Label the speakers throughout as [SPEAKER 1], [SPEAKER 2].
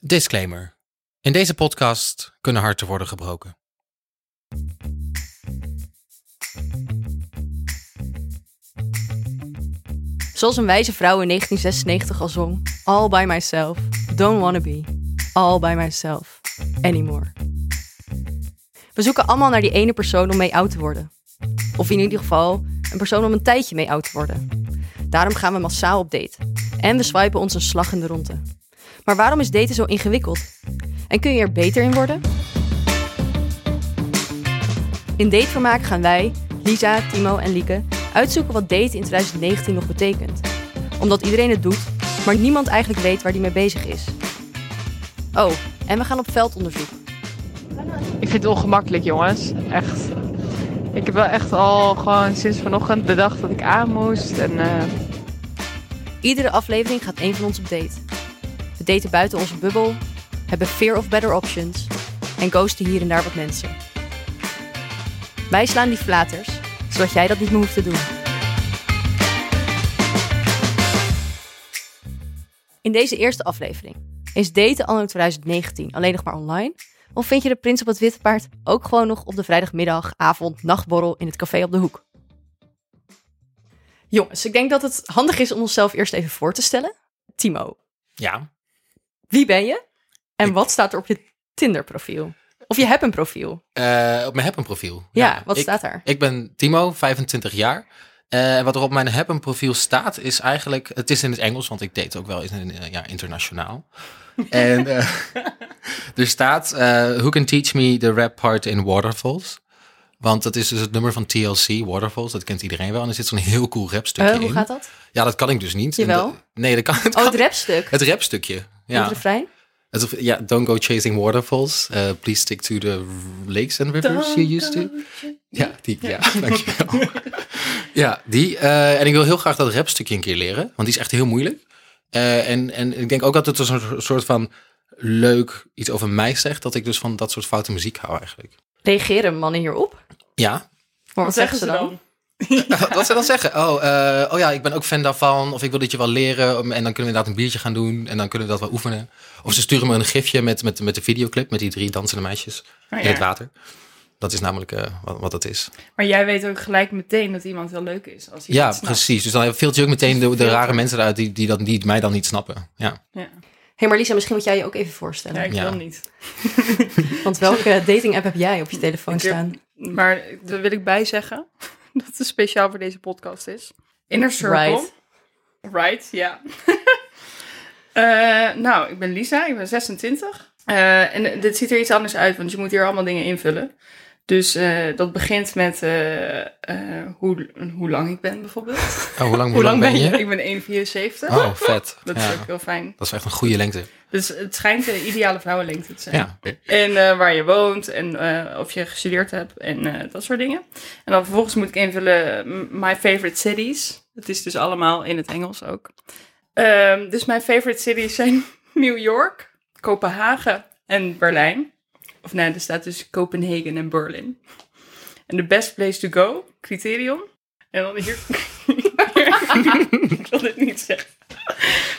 [SPEAKER 1] Disclaimer. In deze podcast kunnen harten worden gebroken.
[SPEAKER 2] Zoals een wijze vrouw in 1996 al zong: All by myself. Don't wanna be. All by myself. Anymore. We zoeken allemaal naar die ene persoon om mee oud te worden. Of in ieder geval een persoon om een tijdje mee oud te worden. Daarom gaan we massaal op date. En we swipen ons een slag in de ronde. Maar waarom is daten zo ingewikkeld? En kun je er beter in worden? In Datevermaak gaan wij, Lisa, Timo en Lieke, uitzoeken wat daten in 2019 nog betekent. Omdat iedereen het doet, maar niemand eigenlijk weet waar die mee bezig is. Oh, en we gaan op veldonderzoek.
[SPEAKER 3] Ik vind het ongemakkelijk, jongens. Echt. Ik heb wel echt al gewoon sinds vanochtend de dag dat ik aan moest. En eh,
[SPEAKER 2] Iedere aflevering gaat één van ons op date. We daten buiten onze bubbel, hebben fear of better options en ghosten hier en daar wat mensen. Wij slaan die flaters, zodat jij dat niet meer hoeft te doen. In deze eerste aflevering is daten anno 2019 alleen nog maar online? Of vind je de prins op het witte paard ook gewoon nog op de vrijdagmiddag, avond, nachtborrel in het café op de hoek? Jongens, ik denk dat het handig is om onszelf eerst even voor te stellen. Timo,
[SPEAKER 1] Ja,
[SPEAKER 2] wie ben je? En
[SPEAKER 1] Ik-
[SPEAKER 2] wat staat er op je Tinder-profiel? Of je hebt een profiel.
[SPEAKER 1] eh, op mijn Happen profiel.
[SPEAKER 2] Ja, wat
[SPEAKER 1] ik,
[SPEAKER 2] staat daar?
[SPEAKER 1] Ik ben Timo, 25 jaar. Eh, wat er op mijn Happen profiel staat is eigenlijk... Het is in het Engels, want ik date ook wel eens in, eh, ja, internationaal. en eh, er staat... eh, Who can teach me the rap part in Waterfalls? Want dat is dus het nummer van TLC, Waterfalls. Dat kent iedereen wel. En er zit zo'n heel cool rapstukje
[SPEAKER 2] Eh,
[SPEAKER 1] in.
[SPEAKER 2] hoe gaat dat?
[SPEAKER 1] Ja, dat kan ik dus niet. En
[SPEAKER 2] Jawel.
[SPEAKER 1] dat- Nee, dat kan, dat
[SPEAKER 2] Oh,
[SPEAKER 1] kan
[SPEAKER 2] het rapstuk.
[SPEAKER 1] Het rapstukje.
[SPEAKER 2] Ja.
[SPEAKER 1] Ja. Alsof, ja, don't go chasing waterfalls. Uh, please stick to the lakes and rivers you used to. Ja, die. Ja, dankjewel. ja, die. eh, en ik wil heel graag dat rapstukje een keer leren. Want die is echt heel moeilijk. Eh, en, en ik denk ook dat het een soort- soort van leuk iets over mij zegt. Dat ik dus van dat soort foute muziek hou eigenlijk.
[SPEAKER 2] Reageren mannen hierop?
[SPEAKER 1] Ja,
[SPEAKER 2] Maar wat, zeggen ze dan?
[SPEAKER 1] wat ze dan zeggen? Oh, eh, oh ja, ik ben ook fan daarvan. Of ik wil dat je wel leren. om- En dan kunnen we inderdaad een biertje gaan doen. En dan kunnen we dat wel oefenen. Of ze sturen me een gifje met, met, met de videoclip. Met die drie dansende meisjes
[SPEAKER 4] Oh
[SPEAKER 1] in het
[SPEAKER 4] ja.
[SPEAKER 1] water. Dat is namelijk eh, wat, wat het is.
[SPEAKER 4] Maar jij weet ook gelijk meteen dat iemand heel leuk is. Als hij
[SPEAKER 1] ja,
[SPEAKER 4] het snapt.
[SPEAKER 1] precies. Dus dan filter je ook meteen de, de
[SPEAKER 4] Filter.
[SPEAKER 1] rare mensen eruit die, die, dat, die mij dan niet snappen. Ja.
[SPEAKER 4] Ja.
[SPEAKER 2] hey, maar Lisa, misschien moet jij je ook even
[SPEAKER 4] Ja,
[SPEAKER 2] voorstellen.
[SPEAKER 4] ik
[SPEAKER 1] Ja.
[SPEAKER 4] wil niet.
[SPEAKER 2] Want welke dating-app heb jij op je telefoon
[SPEAKER 4] Ik heb-
[SPEAKER 2] staan?
[SPEAKER 4] Maar daar wil ik bij zeggen dat het speciaal voor deze podcast is. Inner Circle.
[SPEAKER 2] Right.
[SPEAKER 4] Right, ja. Eh, nou, ik ben Lisa, ik ben 26. Eh, en dit ziet er iets anders uit, want je moet hier allemaal dingen invullen. Dus eh, dat begint met eh, eh, hoe, hoe lang ik ben bijvoorbeeld. Hoe,
[SPEAKER 1] Oh, hoe lang, hoe lang ben je?
[SPEAKER 4] Ik ben 1,74.
[SPEAKER 1] Oh, vet.
[SPEAKER 4] Dat
[SPEAKER 1] ja.
[SPEAKER 4] is ook heel fijn.
[SPEAKER 1] dat is echt een goede lengte.
[SPEAKER 4] Dus het schijnt de ideale vrouwenlengte te zijn.
[SPEAKER 1] Ja.
[SPEAKER 4] En eh, waar je woont en eh, of je gestudeerd hebt en eh, dat soort dingen. En dan vervolgens moet ik invullen mm, my favorite cities. Het is dus allemaal in het Engels ook. Ehm, dus mijn favorite cities zijn New York, Kopenhagen en Berlijn. Of nee, er staat dus Kopenhagen en Berlin. En the best place to go, criterion. En dan hier... ik wil dit niet zeggen.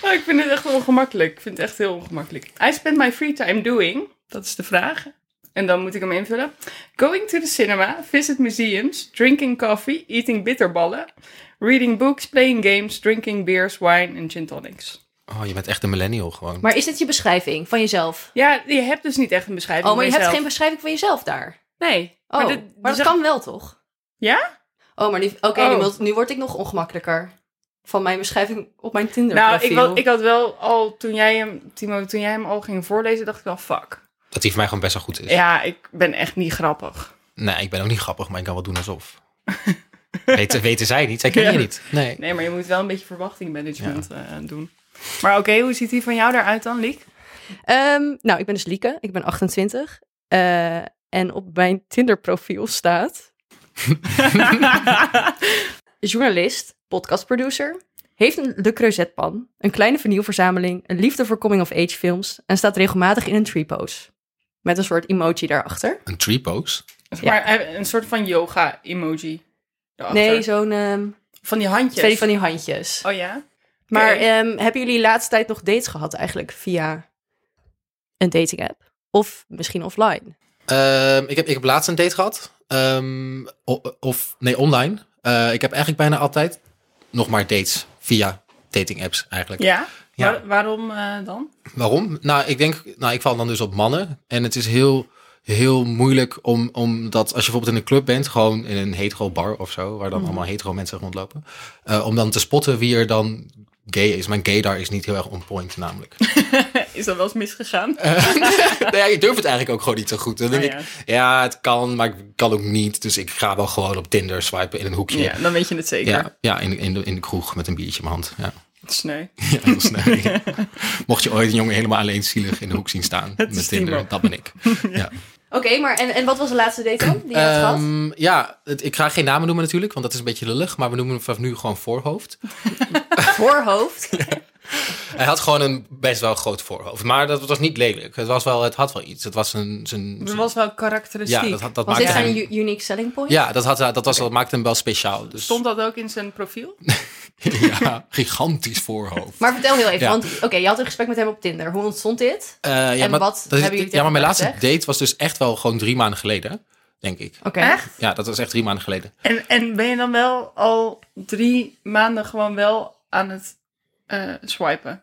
[SPEAKER 4] Maar Oh, ik vind het echt ongemakkelijk. Ik vind het echt heel ongemakkelijk. I spend my free time doing. Dat is de vraag. En dan moet ik hem invullen. Going to the cinema, visit museums, drinking coffee, eating bitterballen, reading books, playing games, drinking beers, wine en gin tonics.
[SPEAKER 1] Oh, je bent echt een millennial gewoon.
[SPEAKER 2] Maar is dit je beschrijving van jezelf?
[SPEAKER 4] Ja, je hebt dus niet echt een beschrijving
[SPEAKER 2] Oh, maar je
[SPEAKER 4] van
[SPEAKER 2] hebt geen
[SPEAKER 4] jezelf.
[SPEAKER 2] beschrijving van jezelf daar.
[SPEAKER 4] Nee.
[SPEAKER 2] Oh, maar,
[SPEAKER 4] dit-
[SPEAKER 2] dat
[SPEAKER 4] die zag-
[SPEAKER 2] kan wel toch?
[SPEAKER 4] Ja?
[SPEAKER 2] Oh, maar nu, oké, nu,
[SPEAKER 4] Oh.
[SPEAKER 2] wordt- nu word ik nog ongemakkelijker van mijn beschrijving op mijn Tinder
[SPEAKER 4] Nou,
[SPEAKER 2] profiel.
[SPEAKER 4] ik, wa- ik had wel al, toen jij hem, Timo, toen jij hem al ging voorlezen, dacht ik wel, fuck.
[SPEAKER 1] Dat die voor mij gewoon best wel goed
[SPEAKER 2] Dus-
[SPEAKER 1] is.
[SPEAKER 4] Ja, ik ben echt niet grappig.
[SPEAKER 1] Nee, ik ben ook niet grappig, maar ik kan wel doen alsof. weten, weten zij niet, zij kennen je
[SPEAKER 4] Ja.
[SPEAKER 1] niet. Nee.
[SPEAKER 4] Nee, maar je moet wel een beetje verwachtingmanagement eh, doen. Maar oké, hoe ziet die van jou eruit dan, Liek?
[SPEAKER 2] Ehm, nou, ik ben dus Lieke, ik ben 28. eh, en op mijn Tinder-profiel staat... journalist, podcastproducer, heeft een Le Creuset-pan, een kleine vernieuwverzameling, een liefde voor coming-of-age films en staat regelmatig in een tree-pose. Met een soort emoji daarachter.
[SPEAKER 1] Een tree pose?
[SPEAKER 4] Zeg maar eh, een soort van yoga-emoji. daarachter.
[SPEAKER 2] Nee, zo'n... ehm,
[SPEAKER 4] van die handjes.
[SPEAKER 2] Twee van die handjes.
[SPEAKER 4] Oh ja?
[SPEAKER 2] Maar
[SPEAKER 4] Oké.
[SPEAKER 2] ehm, hebben jullie de laatste tijd nog dates gehad eigenlijk via een dating app. Of misschien offline.
[SPEAKER 1] Ehm, ik, heb, ik heb laatst een date gehad. Ehm, o- of, nee, online. Eh, ik heb eigenlijk bijna altijd nog maar dates via dating apps eigenlijk.
[SPEAKER 4] Ja?
[SPEAKER 1] Ja.
[SPEAKER 4] Waar- waarom eh, dan?
[SPEAKER 1] Waarom? Nou, ik denk, nou, ik val dan dus op mannen. En het is heel, heel moeilijk om, om dat, als je bijvoorbeeld in een club bent, gewoon in een hetero bar of zo, waar dan allemaal hetero mensen rondlopen, eh, om dan te spotten wie er dan gay is. Mijn gaydar is niet heel erg on point namelijk.
[SPEAKER 4] Is dat wel eens misgegaan?
[SPEAKER 1] nou ja, je durft het eigenlijk ook gewoon niet zo goed. Dan denk
[SPEAKER 4] Ah, ja.
[SPEAKER 1] ik, ja, het kan, maar ik kan ook niet. Dus ik ga wel gewoon op Tinder swipen in een hoekje.
[SPEAKER 4] Ja, dan weet je het zeker.
[SPEAKER 1] Ja, ja in, in, de, in de kroeg met een biertje in mijn hand. Ja,
[SPEAKER 4] Sneu.
[SPEAKER 1] ja heel snel. Ja. Mocht je ooit een jongen helemaal alleen zielig in de hoek zien staan
[SPEAKER 4] is
[SPEAKER 1] met Tinder,
[SPEAKER 4] Timo.
[SPEAKER 1] dat ben ik. Ja,
[SPEAKER 2] Oké, maar en, en wat was de laatste date dan? Die je had gehad?
[SPEAKER 1] Ehm, ja het- ik ga geen namen noemen natuurlijk, want dat is een beetje lullig. Maar we noemen hem vanaf nu gewoon voorhoofd.
[SPEAKER 2] Voorhoofd.
[SPEAKER 1] Hij had gewoon een best wel groot voorhoofd. Maar dat was niet lelijk. Het, was wel, het had wel iets. Het was een... zijn
[SPEAKER 4] Dat was wel
[SPEAKER 1] ja,
[SPEAKER 4] karakteristiek.
[SPEAKER 1] dat, had- dat
[SPEAKER 2] Was
[SPEAKER 1] maakte
[SPEAKER 2] dit zijn
[SPEAKER 1] hem...
[SPEAKER 2] u- unique selling point?
[SPEAKER 1] Ja, dat, had, dat, was, dat maakte hem wel speciaal. Dus,
[SPEAKER 4] Stond dat ook in zijn profiel?
[SPEAKER 1] ja, gigantisch voorhoofd.
[SPEAKER 2] Maar vertel heel even,
[SPEAKER 1] Ja.
[SPEAKER 2] want oké, je had een gesprek met hem op Tinder. Hoe ontstond dit?
[SPEAKER 1] Eh, ja,
[SPEAKER 2] en
[SPEAKER 1] maar,
[SPEAKER 2] wat
[SPEAKER 1] dat is-
[SPEAKER 2] hebben jullie
[SPEAKER 1] Ja, maar mijn
[SPEAKER 2] tegen
[SPEAKER 1] laatste
[SPEAKER 2] elkaar
[SPEAKER 1] date was dus echt wel gewoon drie maanden geleden, denk ik.
[SPEAKER 2] Oké.
[SPEAKER 4] Echt?
[SPEAKER 1] Ja, dat was echt drie maanden geleden.
[SPEAKER 4] En, en ben je dan wel al drie maanden gewoon wel aan het eh, swipen?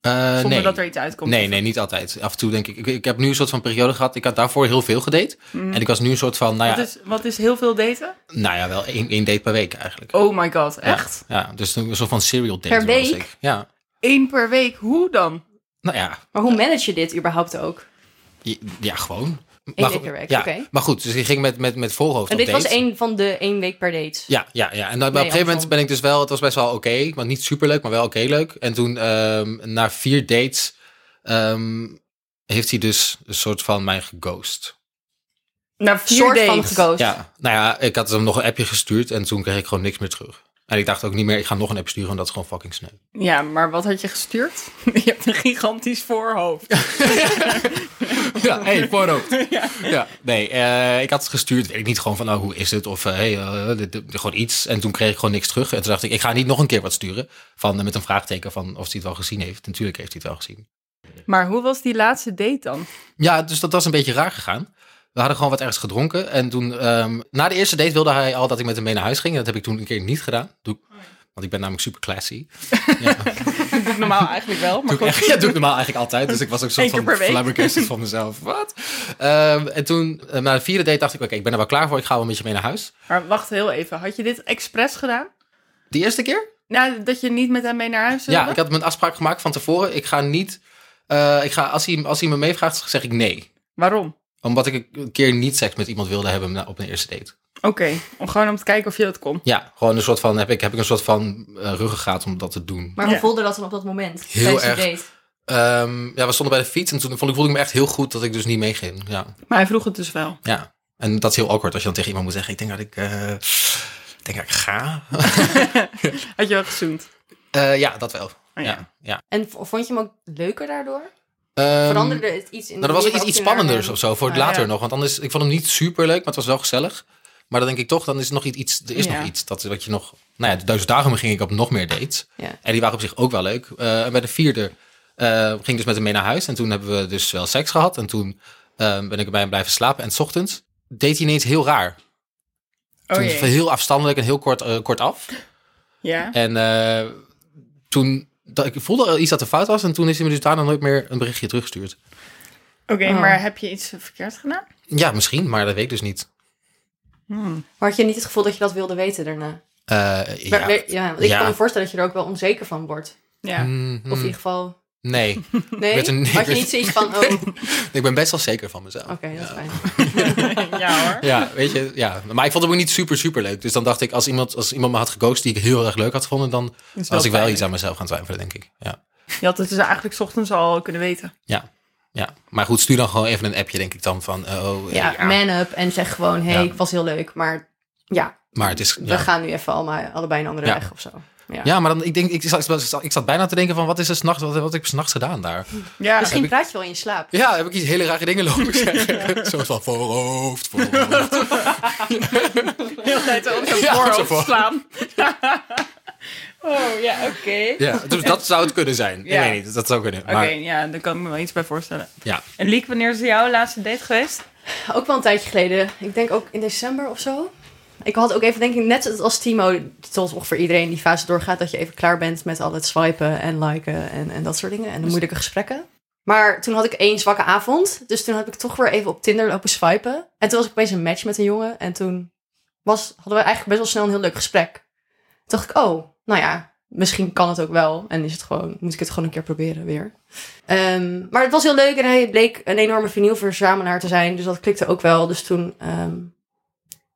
[SPEAKER 1] Eh,
[SPEAKER 4] Zonder
[SPEAKER 1] nee.
[SPEAKER 4] dat er iets uitkomt?
[SPEAKER 1] Nee, nou nee, niet altijd. Af en toe denk ik, ik, ik heb nu een soort van periode gehad. Ik had daarvoor heel veel gedate.
[SPEAKER 2] Mm.
[SPEAKER 1] En ik was nu een soort van, nou ja,
[SPEAKER 4] Wat, is, wat is heel veel daten?
[SPEAKER 1] nou ja wel één, één date per week eigenlijk.
[SPEAKER 4] Oh my god,
[SPEAKER 1] Ja.
[SPEAKER 4] echt?
[SPEAKER 1] Ja, dus toen een soort van serial date.
[SPEAKER 2] Per
[SPEAKER 1] was
[SPEAKER 2] week?
[SPEAKER 1] ik. Ja.
[SPEAKER 4] Eén per week, hoe dan?
[SPEAKER 1] Nou ja,
[SPEAKER 2] Maar hoe manage je dit überhaupt ook?
[SPEAKER 1] je- ja, gewoon.
[SPEAKER 2] date per week,
[SPEAKER 1] ja,
[SPEAKER 2] oké.
[SPEAKER 1] Maar goed, dus ik ging met, met, met voorhoofd
[SPEAKER 2] En
[SPEAKER 1] op
[SPEAKER 2] dit was
[SPEAKER 1] date.
[SPEAKER 2] één van de één week per date.
[SPEAKER 1] Ja, ja, ja. En dan, op een gegeven moment
[SPEAKER 2] andersom.
[SPEAKER 1] ben ik dus wel, het was best wel oké, maar niet super leuk, maar wel oké leuk. En toen, ehm, na vier dates, ehm, heeft hij dus een soort van mij geghost.
[SPEAKER 4] Na
[SPEAKER 2] Een
[SPEAKER 4] vier
[SPEAKER 2] soort van
[SPEAKER 4] dates.
[SPEAKER 2] geghost.
[SPEAKER 1] Ja, nou ja, ik had hem nog een appje gestuurd en toen kreeg ik gewoon niks meer terug. En ik dacht ook niet meer, ik ga nog een app sturen, want dat is gewoon fucking sneu.
[SPEAKER 4] Ja, maar wat had je gestuurd? je hebt een gigantisch voorhoofd.
[SPEAKER 1] Ja, hey, voorhoofd. ja. nee, eh, ik had het gestuurd, weet ik niet, gewoon van, nou, hoe is het? Of, eh, hey, eh, dit- dit- gewoon iets. En toen kreeg ik gewoon niks terug. En toen dacht ik, ik ga niet nog een keer wat sturen, van, eh, met een vraagteken van of hij het wel gezien heeft. Natuurlijk heeft hij het wel gezien.
[SPEAKER 4] Maar hoe was die laatste date dan?
[SPEAKER 1] Ja, dus dat was een beetje raar gegaan. We hadden gewoon wat ergens gedronken. En toen, ehm, na de eerste date wilde hij al dat ik met hem mee naar huis ging. En dat heb ik toen een keer niet gedaan. Doe ik- want ik ben namelijk super classy.
[SPEAKER 4] Doe ik normaal eigenlijk wel, maar
[SPEAKER 1] Doe ik,
[SPEAKER 4] goed.
[SPEAKER 1] echt- ja, doe ik normaal eigenlijk altijd. Dus ik was ook
[SPEAKER 4] Eén
[SPEAKER 1] soort
[SPEAKER 4] keer
[SPEAKER 1] van
[SPEAKER 4] per week.
[SPEAKER 1] flabbergasted van mezelf. Wat? Ehm, en toen, eh, na de vierde date dacht ik, oké, ik ben er wel klaar voor. Ik ga wel met je mee naar huis.
[SPEAKER 4] Maar wacht heel even, had je dit expres gedaan?
[SPEAKER 1] Die eerste keer?
[SPEAKER 4] Nou, dat je niet met hem mee naar huis wilde?
[SPEAKER 1] Ja, ik had mijn afspraak gemaakt van tevoren. Ik ga niet, eh, ik ga, als, hij, als hij me meevraagt, zeg ik nee.
[SPEAKER 4] Waarom?
[SPEAKER 1] Omdat ik een keer niet seks met iemand wilde hebben na- op een eerste date.
[SPEAKER 4] Oké, om gewoon om te kijken of je dat kon.
[SPEAKER 1] Ja, gewoon een soort van, heb ik, heb ik een soort van eh, ruggengraat om dat te doen.
[SPEAKER 2] Maar hoe
[SPEAKER 4] Ja.
[SPEAKER 2] voelde dat dan op dat moment?
[SPEAKER 1] Heel
[SPEAKER 2] tijdens die
[SPEAKER 1] erg.
[SPEAKER 2] date?
[SPEAKER 1] Ehm, ja, we stonden bij de fiets en toen vond ik, voelde ik me echt heel goed dat ik dus niet meeging. Ja,
[SPEAKER 4] Maar hij vroeg het dus wel.
[SPEAKER 1] ja. En dat is heel awkward als je dan tegen iemand moet zeggen, ik denk dat ik, eh, ik, denk dat ik ga.
[SPEAKER 4] Had je wel gezoend?
[SPEAKER 1] Eh, ja, dat wel.
[SPEAKER 4] Oh, ja.
[SPEAKER 1] ja. ja.
[SPEAKER 2] En v- vond je hem ook leuker daardoor?
[SPEAKER 1] Ehm,
[SPEAKER 2] Veranderde het iets in
[SPEAKER 1] nou, dat was iets,
[SPEAKER 2] de manier waarop
[SPEAKER 1] iets
[SPEAKER 2] je naar
[SPEAKER 1] spannenders
[SPEAKER 2] hem-
[SPEAKER 1] of zo voor
[SPEAKER 4] Ah,
[SPEAKER 1] later
[SPEAKER 4] ja.
[SPEAKER 1] nog. Want anders, ik vond hem niet super leuk, maar het was wel gezellig. Maar dan denk ik toch, dan is er nog iets, er is
[SPEAKER 4] Ja.
[SPEAKER 1] nog iets. Dat, is wat je nog, nou ja, dus daarom ging ik op nog meer dates.
[SPEAKER 2] Ja.
[SPEAKER 1] En die waren op zich ook wel leuk. Eh, en bij de vierde eh, ging ik dus met hem mee naar huis. En toen hebben we dus wel seks gehad. En toen eh, ben ik bij hem blijven slapen. En 's ochtends deed hij ineens heel raar.
[SPEAKER 4] Oh
[SPEAKER 1] toen
[SPEAKER 4] jee.
[SPEAKER 1] heel afstandelijk en heel kort, eh, kort af.
[SPEAKER 4] Ja.
[SPEAKER 1] En eh, toen dat, ik voelde eh, iets dat er fout was. En toen is hij me dus daarna nooit meer een berichtje teruggestuurd.
[SPEAKER 4] Oké,
[SPEAKER 2] Oh.
[SPEAKER 4] maar heb je iets verkeerd gedaan?
[SPEAKER 1] Ja, misschien, maar dat weet ik dus niet.
[SPEAKER 2] Maar had je niet het gevoel dat je dat wilde weten daarna?
[SPEAKER 1] Eh, ja.
[SPEAKER 2] Ja, ja want ik
[SPEAKER 1] Ja.
[SPEAKER 2] kan me voorstellen dat je er ook wel onzeker van wordt.
[SPEAKER 4] Ja.
[SPEAKER 1] Mm,
[SPEAKER 2] Of in ieder geval...
[SPEAKER 1] Nee,
[SPEAKER 2] Nee?
[SPEAKER 1] werd er niet-
[SPEAKER 2] Had je niet zoiets van... Oh, oké,
[SPEAKER 1] ik ben best wel zeker van mezelf.
[SPEAKER 2] dat is fijn.
[SPEAKER 4] ja hoor.
[SPEAKER 1] Ja, weet je, ja. Maar ik vond hem ook niet super, super leuk. Dus dan dacht ik, als iemand, als iemand me had geghost die ik heel erg leuk had gevonden, dan
[SPEAKER 4] is wel
[SPEAKER 1] was ik wel
[SPEAKER 4] pijnlijk.
[SPEAKER 1] iets aan mezelf gaan twijfelen, denk ik. Ja.
[SPEAKER 4] Je had het dus eigenlijk 's ochtends al kunnen weten.
[SPEAKER 1] ja, ja. Maar goed, stuur dan gewoon even een appje, denk ik dan, van, oh, eh,
[SPEAKER 2] Ja,
[SPEAKER 1] ja.
[SPEAKER 2] man up en zeg gewoon... Hé, hey,
[SPEAKER 1] Ja.
[SPEAKER 2] ik was heel leuk, maar... Ja,
[SPEAKER 1] Maar het is,
[SPEAKER 2] we
[SPEAKER 1] ja.
[SPEAKER 2] gaan nu even allemaal, allebei een andere
[SPEAKER 1] Ja.
[SPEAKER 2] weg of zo. Ja.
[SPEAKER 1] Ja, maar dan, ik denk, ik zat, ik zat- ik zat bijna te denken van, wat is er s'nachts, wat, wat heb ik s'nachts gedaan daar?
[SPEAKER 4] Ja.
[SPEAKER 2] Misschien
[SPEAKER 1] ik-
[SPEAKER 2] praat je wel in je slaap.
[SPEAKER 1] Ja, heb ik iets hele rare dingen lopen zeggen. Een soort van voorhoofd, voorhoofd.
[SPEAKER 4] heel tijd op zijn
[SPEAKER 1] Ja, op zijn
[SPEAKER 4] voorhoofd
[SPEAKER 1] voorhoofd.
[SPEAKER 4] slaan. Oh ja, oké.
[SPEAKER 1] Ja, dus dat zou het kunnen zijn.
[SPEAKER 4] Ja.
[SPEAKER 1] Ik weet niet, dat zou kunnen.
[SPEAKER 4] Oké,
[SPEAKER 1] Maar
[SPEAKER 4] ja, daar kan ik me wel iets bij voorstellen.
[SPEAKER 1] ja,
[SPEAKER 4] En Liek, wanneer is jouw laatste date geweest?
[SPEAKER 2] Ook wel een tijdje geleden. Ik denk ook in december of zo. Ik had ook even, denk ik, net als Timo, zoals ongeveer iedereen die fase doorgaat, dat je even klaar bent met al het swipen en liken en, en dat soort dingen.
[SPEAKER 1] Dus-
[SPEAKER 2] En de moeilijke gesprekken. Maar toen had ik één zwakke avond. Dus toen heb ik toch weer even op Tinder lopen swipen. En toen was ik opeens een match met een jongen. En toen was, hadden we eigenlijk best wel snel een heel leuk gesprek. Toen dacht ik, oh, nou ja, misschien kan het ook wel. En is het gewoon, moet ik het gewoon een keer proberen weer. Ehm, maar het was heel leuk en hij bleek een enorme vinylverzamelaar te zijn. Dus dat klikte ook wel. Dus toen ehm,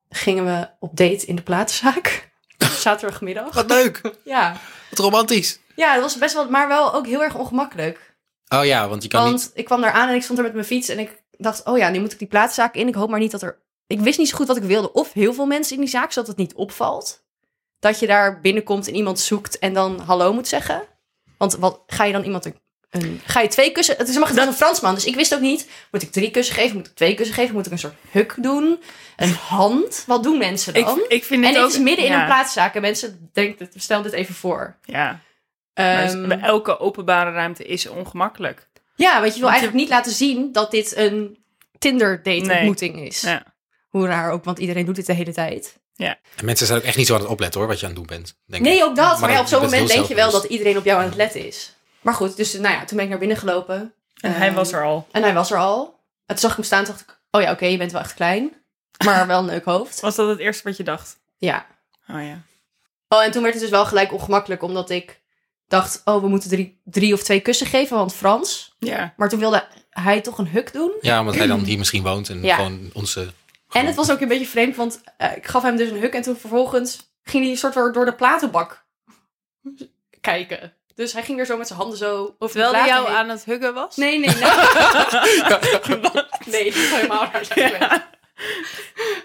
[SPEAKER 2] gingen we op date in de platenzaak. Zaterdagmiddag.
[SPEAKER 1] wat leuk.
[SPEAKER 2] Ja.
[SPEAKER 1] Wat romantisch.
[SPEAKER 2] ja, dat was best wel, maar wel ook heel erg ongemakkelijk.
[SPEAKER 1] Oh ja, want je kan
[SPEAKER 2] Want
[SPEAKER 1] niet...
[SPEAKER 2] ik kwam daar aan en ik stond er met mijn fiets. En ik dacht, oh ja, nu moet ik die platenzaak in. Ik hoop maar niet dat er... Ik wist niet zo goed wat ik wilde. Of heel veel mensen in die zaak, zodat het niet opvalt. Dat je daar binnenkomt en iemand zoekt en dan hallo moet zeggen. Want wat, ga je dan iemand een... een- ga je twee kussen... Het is maar gedaan een Fransman, dus ik wist ook niet... Moet ik drie kussen geven? Moet ik twee kussen geven? Moet ik een soort huk doen? Een hand? Wat doen mensen dan?
[SPEAKER 4] ik vind
[SPEAKER 2] en het is midden in
[SPEAKER 4] Oh. ja,
[SPEAKER 2] een plaatszaak en mensen denken... Stel dit even voor.
[SPEAKER 4] Ja, maar is-
[SPEAKER 2] Ehm,
[SPEAKER 4] bij elke openbare ruimte is ongemakkelijk.
[SPEAKER 2] Ja, want je wil
[SPEAKER 4] Want je-
[SPEAKER 2] eigenlijk niet laten zien dat dit een
[SPEAKER 4] Nee.
[SPEAKER 2] Tinder-date-ontmoeting is.
[SPEAKER 4] Ja.
[SPEAKER 2] Hoe raar ook, want iedereen doet dit de hele tijd.
[SPEAKER 1] En mensen zijn ook echt niet zo aan het opletten hoor, wat je aan het doen bent. Denk ik.
[SPEAKER 2] Nee, ook dat. Maar,
[SPEAKER 1] Maar
[SPEAKER 2] ja,
[SPEAKER 1] dat-
[SPEAKER 2] op zo'n
[SPEAKER 1] dat is
[SPEAKER 2] moment
[SPEAKER 1] heel
[SPEAKER 2] denk je wel dat
[SPEAKER 1] zelfbewust.
[SPEAKER 2] iedereen op jou aan het letten is. Maar goed, dus nou ja, toen ben ik naar binnen gelopen.
[SPEAKER 4] En
[SPEAKER 2] Ehm.
[SPEAKER 4] hij was er al.
[SPEAKER 2] En hij was er al. En toen zag ik hem staan en dacht ik, oh ja, oké, je bent wel echt klein. Maar wel een leuk hoofd.
[SPEAKER 4] Was dat het eerste wat je dacht?
[SPEAKER 2] Ja.
[SPEAKER 4] Oh ja.
[SPEAKER 2] Oh, en toen werd het dus wel gelijk ongemakkelijk, omdat ik dacht, oh, we moeten drie, drie of twee kussen geven, want Frans.
[SPEAKER 4] Ja.
[SPEAKER 2] Maar toen wilde hij toch een huk doen.
[SPEAKER 1] Ja, omdat hij dan hier misschien woont en
[SPEAKER 2] Ja.
[SPEAKER 1] gewoon onze...
[SPEAKER 2] En het was ook een beetje vreemd, want eh, ik gaf hem dus een huk en toen vervolgens ging hij een soort door- door de platenbak kijken. Dus hij ging weer zo met zijn handen zo over de platen heen.
[SPEAKER 4] het huggen was?
[SPEAKER 2] Nee, nee, nee. nee, dat is helemaal raar.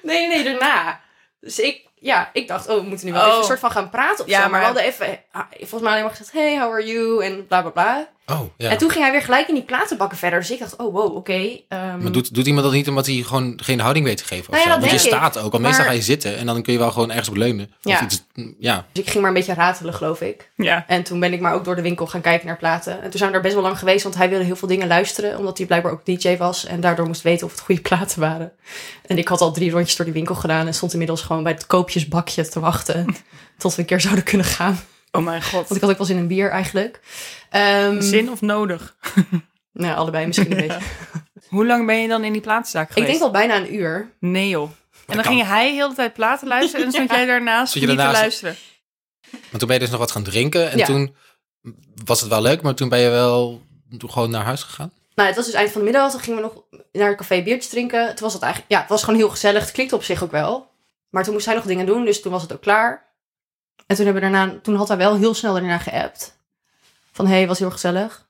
[SPEAKER 2] Nee, nee, nee, daarna. Dus ik, ja, ik dacht, oh, we moeten nu wel
[SPEAKER 4] Oh.
[SPEAKER 2] even een soort van gaan praten of
[SPEAKER 4] Ja,
[SPEAKER 2] zo. Maar,
[SPEAKER 4] maar-
[SPEAKER 2] we hadden even, ah, volgens mij alleen maar gezegd, hey, how are you? En bla, bla, bla.
[SPEAKER 1] Oh, ja.
[SPEAKER 2] En toen ging hij weer gelijk in die platenbakken verder. Dus ik dacht, oh, wow, oké. ehm,
[SPEAKER 1] Maar doet, doet iemand dat niet omdat hij gewoon geen houding weet te geven?
[SPEAKER 2] Nou
[SPEAKER 1] of
[SPEAKER 2] ja,
[SPEAKER 1] zo?
[SPEAKER 2] dat
[SPEAKER 1] Want je
[SPEAKER 2] denk ik.
[SPEAKER 1] staat ook, al meestal
[SPEAKER 2] Maar-
[SPEAKER 1] ga je zitten en dan kun je wel gewoon ergens op leunen.
[SPEAKER 2] Ja.
[SPEAKER 1] Of iets, ja.
[SPEAKER 2] Dus ik ging maar een beetje ratelen, geloof ik.
[SPEAKER 4] Ja.
[SPEAKER 2] En toen ben ik maar ook door de winkel gaan kijken naar platen. En toen zijn we daar best wel lang geweest, want hij wilde heel veel dingen luisteren. Omdat hij blijkbaar ook DJ was en daardoor moest weten of het goede platen waren. En ik had al drie rondjes door die winkel gedaan en stond inmiddels gewoon bij het koopjesbakje te wachten. tot we een keer zouden kunnen gaan.
[SPEAKER 4] Oh mijn god.
[SPEAKER 2] Want ik had ook wel zin in bier eigenlijk. Ehm,
[SPEAKER 4] Zin of nodig?
[SPEAKER 2] Nou, allebei misschien een beetje.
[SPEAKER 4] Hoe lang ben je dan in die plaatszaak
[SPEAKER 2] Ik
[SPEAKER 4] geweest?
[SPEAKER 2] denk al bijna een uur.
[SPEAKER 4] Nee joh. En dan
[SPEAKER 1] kan.
[SPEAKER 4] ging hij heel de hele tijd platen luisteren en dan stond jij daarnaast
[SPEAKER 1] Stond je
[SPEAKER 4] niet te
[SPEAKER 1] daarnaast-
[SPEAKER 4] luisteren.
[SPEAKER 1] Maar toen ben je dus nog wat gaan drinken en
[SPEAKER 2] Ja.
[SPEAKER 1] toen was het wel leuk, maar toen ben je wel gewoon naar huis gegaan.
[SPEAKER 2] Nou, het was dus eind van de middag. Toen gingen we nog naar een café biertje drinken. Toen was het eigenlijk, ja, het was gewoon heel gezellig. Het klinkt op zich ook wel. Maar toen moest hij nog dingen doen, dus toen was het ook klaar. En toen, hebben we daarna, toen had hij wel heel snel daarna geappt. Van, hé, hey, was heel gezellig.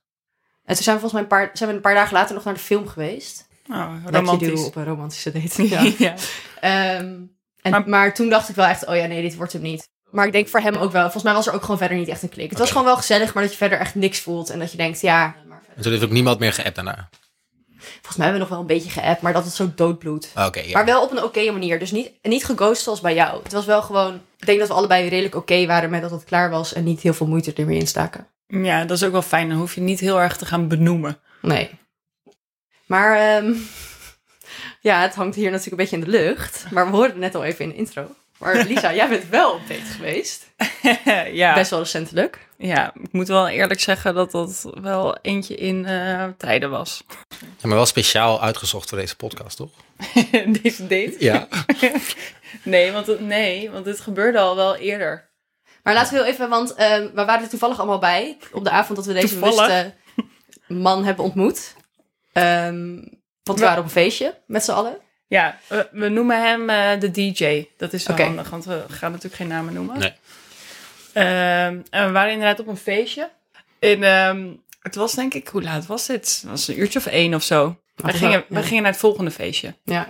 [SPEAKER 2] En toen zijn we volgens mij een paar, zijn we een paar dagen later nog naar de film geweest.
[SPEAKER 4] Oh,
[SPEAKER 2] Like you do
[SPEAKER 4] romantisch.
[SPEAKER 2] op een romantische date.
[SPEAKER 4] Ja.
[SPEAKER 2] Ja. Ehm, en, maar,
[SPEAKER 4] Maar-
[SPEAKER 2] toen dacht ik wel echt, oh ja, nee, dit wordt hem niet. Maar ik denk voor hem ook wel. Volgens mij was er ook gewoon verder niet echt een klik. Het was gewoon wel gezellig, maar dat je verder echt niks voelt. En dat je denkt, ja, maar
[SPEAKER 1] En toen heeft ook niemand meer geappt daarna.
[SPEAKER 2] Volgens mij hebben we nog wel een beetje geappt, maar dat het zo doodbloed.
[SPEAKER 1] Ah, Oké, ja.
[SPEAKER 2] Maar wel op een oké manier. Dus niet, niet geghost zoals bij jou. Het was wel gewoon. Ik denk dat we allebei redelijk oké waren met dat het klaar was en niet heel veel moeite er meer in staken.
[SPEAKER 4] ja, dat is ook wel fijn. Dan hoef je niet heel erg te gaan benoemen.
[SPEAKER 2] Nee. Maar ehm, ja, het hangt hier natuurlijk een beetje in de lucht. Maar we hoorden het net al even in de intro. Maar Lisa, jij bent wel op date geweest.
[SPEAKER 4] ja.
[SPEAKER 2] Best wel recentelijk.
[SPEAKER 4] ja, ik moet wel eerlijk zeggen dat dat wel eentje in eh, tijden was.
[SPEAKER 1] Ja, maar wel speciaal uitgezocht voor deze podcast, toch?
[SPEAKER 4] Deze date?
[SPEAKER 1] Ja.
[SPEAKER 4] Nee want, het- nee, want dit gebeurde al wel eerder.
[SPEAKER 2] Maar laten we heel even, want ehm, we waren er toevallig allemaal bij op de avond dat we deze
[SPEAKER 4] Toevallig.
[SPEAKER 2] bewuste man hebben ontmoet. Ehm, want we
[SPEAKER 4] Ja.
[SPEAKER 2] waren op een feestje met z'n allen.
[SPEAKER 4] Ja, we, we noemen hem eh, de DJ. Dat is wel
[SPEAKER 2] Oké.
[SPEAKER 4] handig, want we gaan natuurlijk geen namen noemen.
[SPEAKER 1] Nee.
[SPEAKER 4] Ehm, en we waren inderdaad op een feestje. En ehm, het was denk ik, hoe laat was dit? Het was een uurtje of één of zo. We
[SPEAKER 2] het was
[SPEAKER 4] gingen,
[SPEAKER 2] wel-
[SPEAKER 4] we gingen naar het volgende feestje.
[SPEAKER 2] Ja.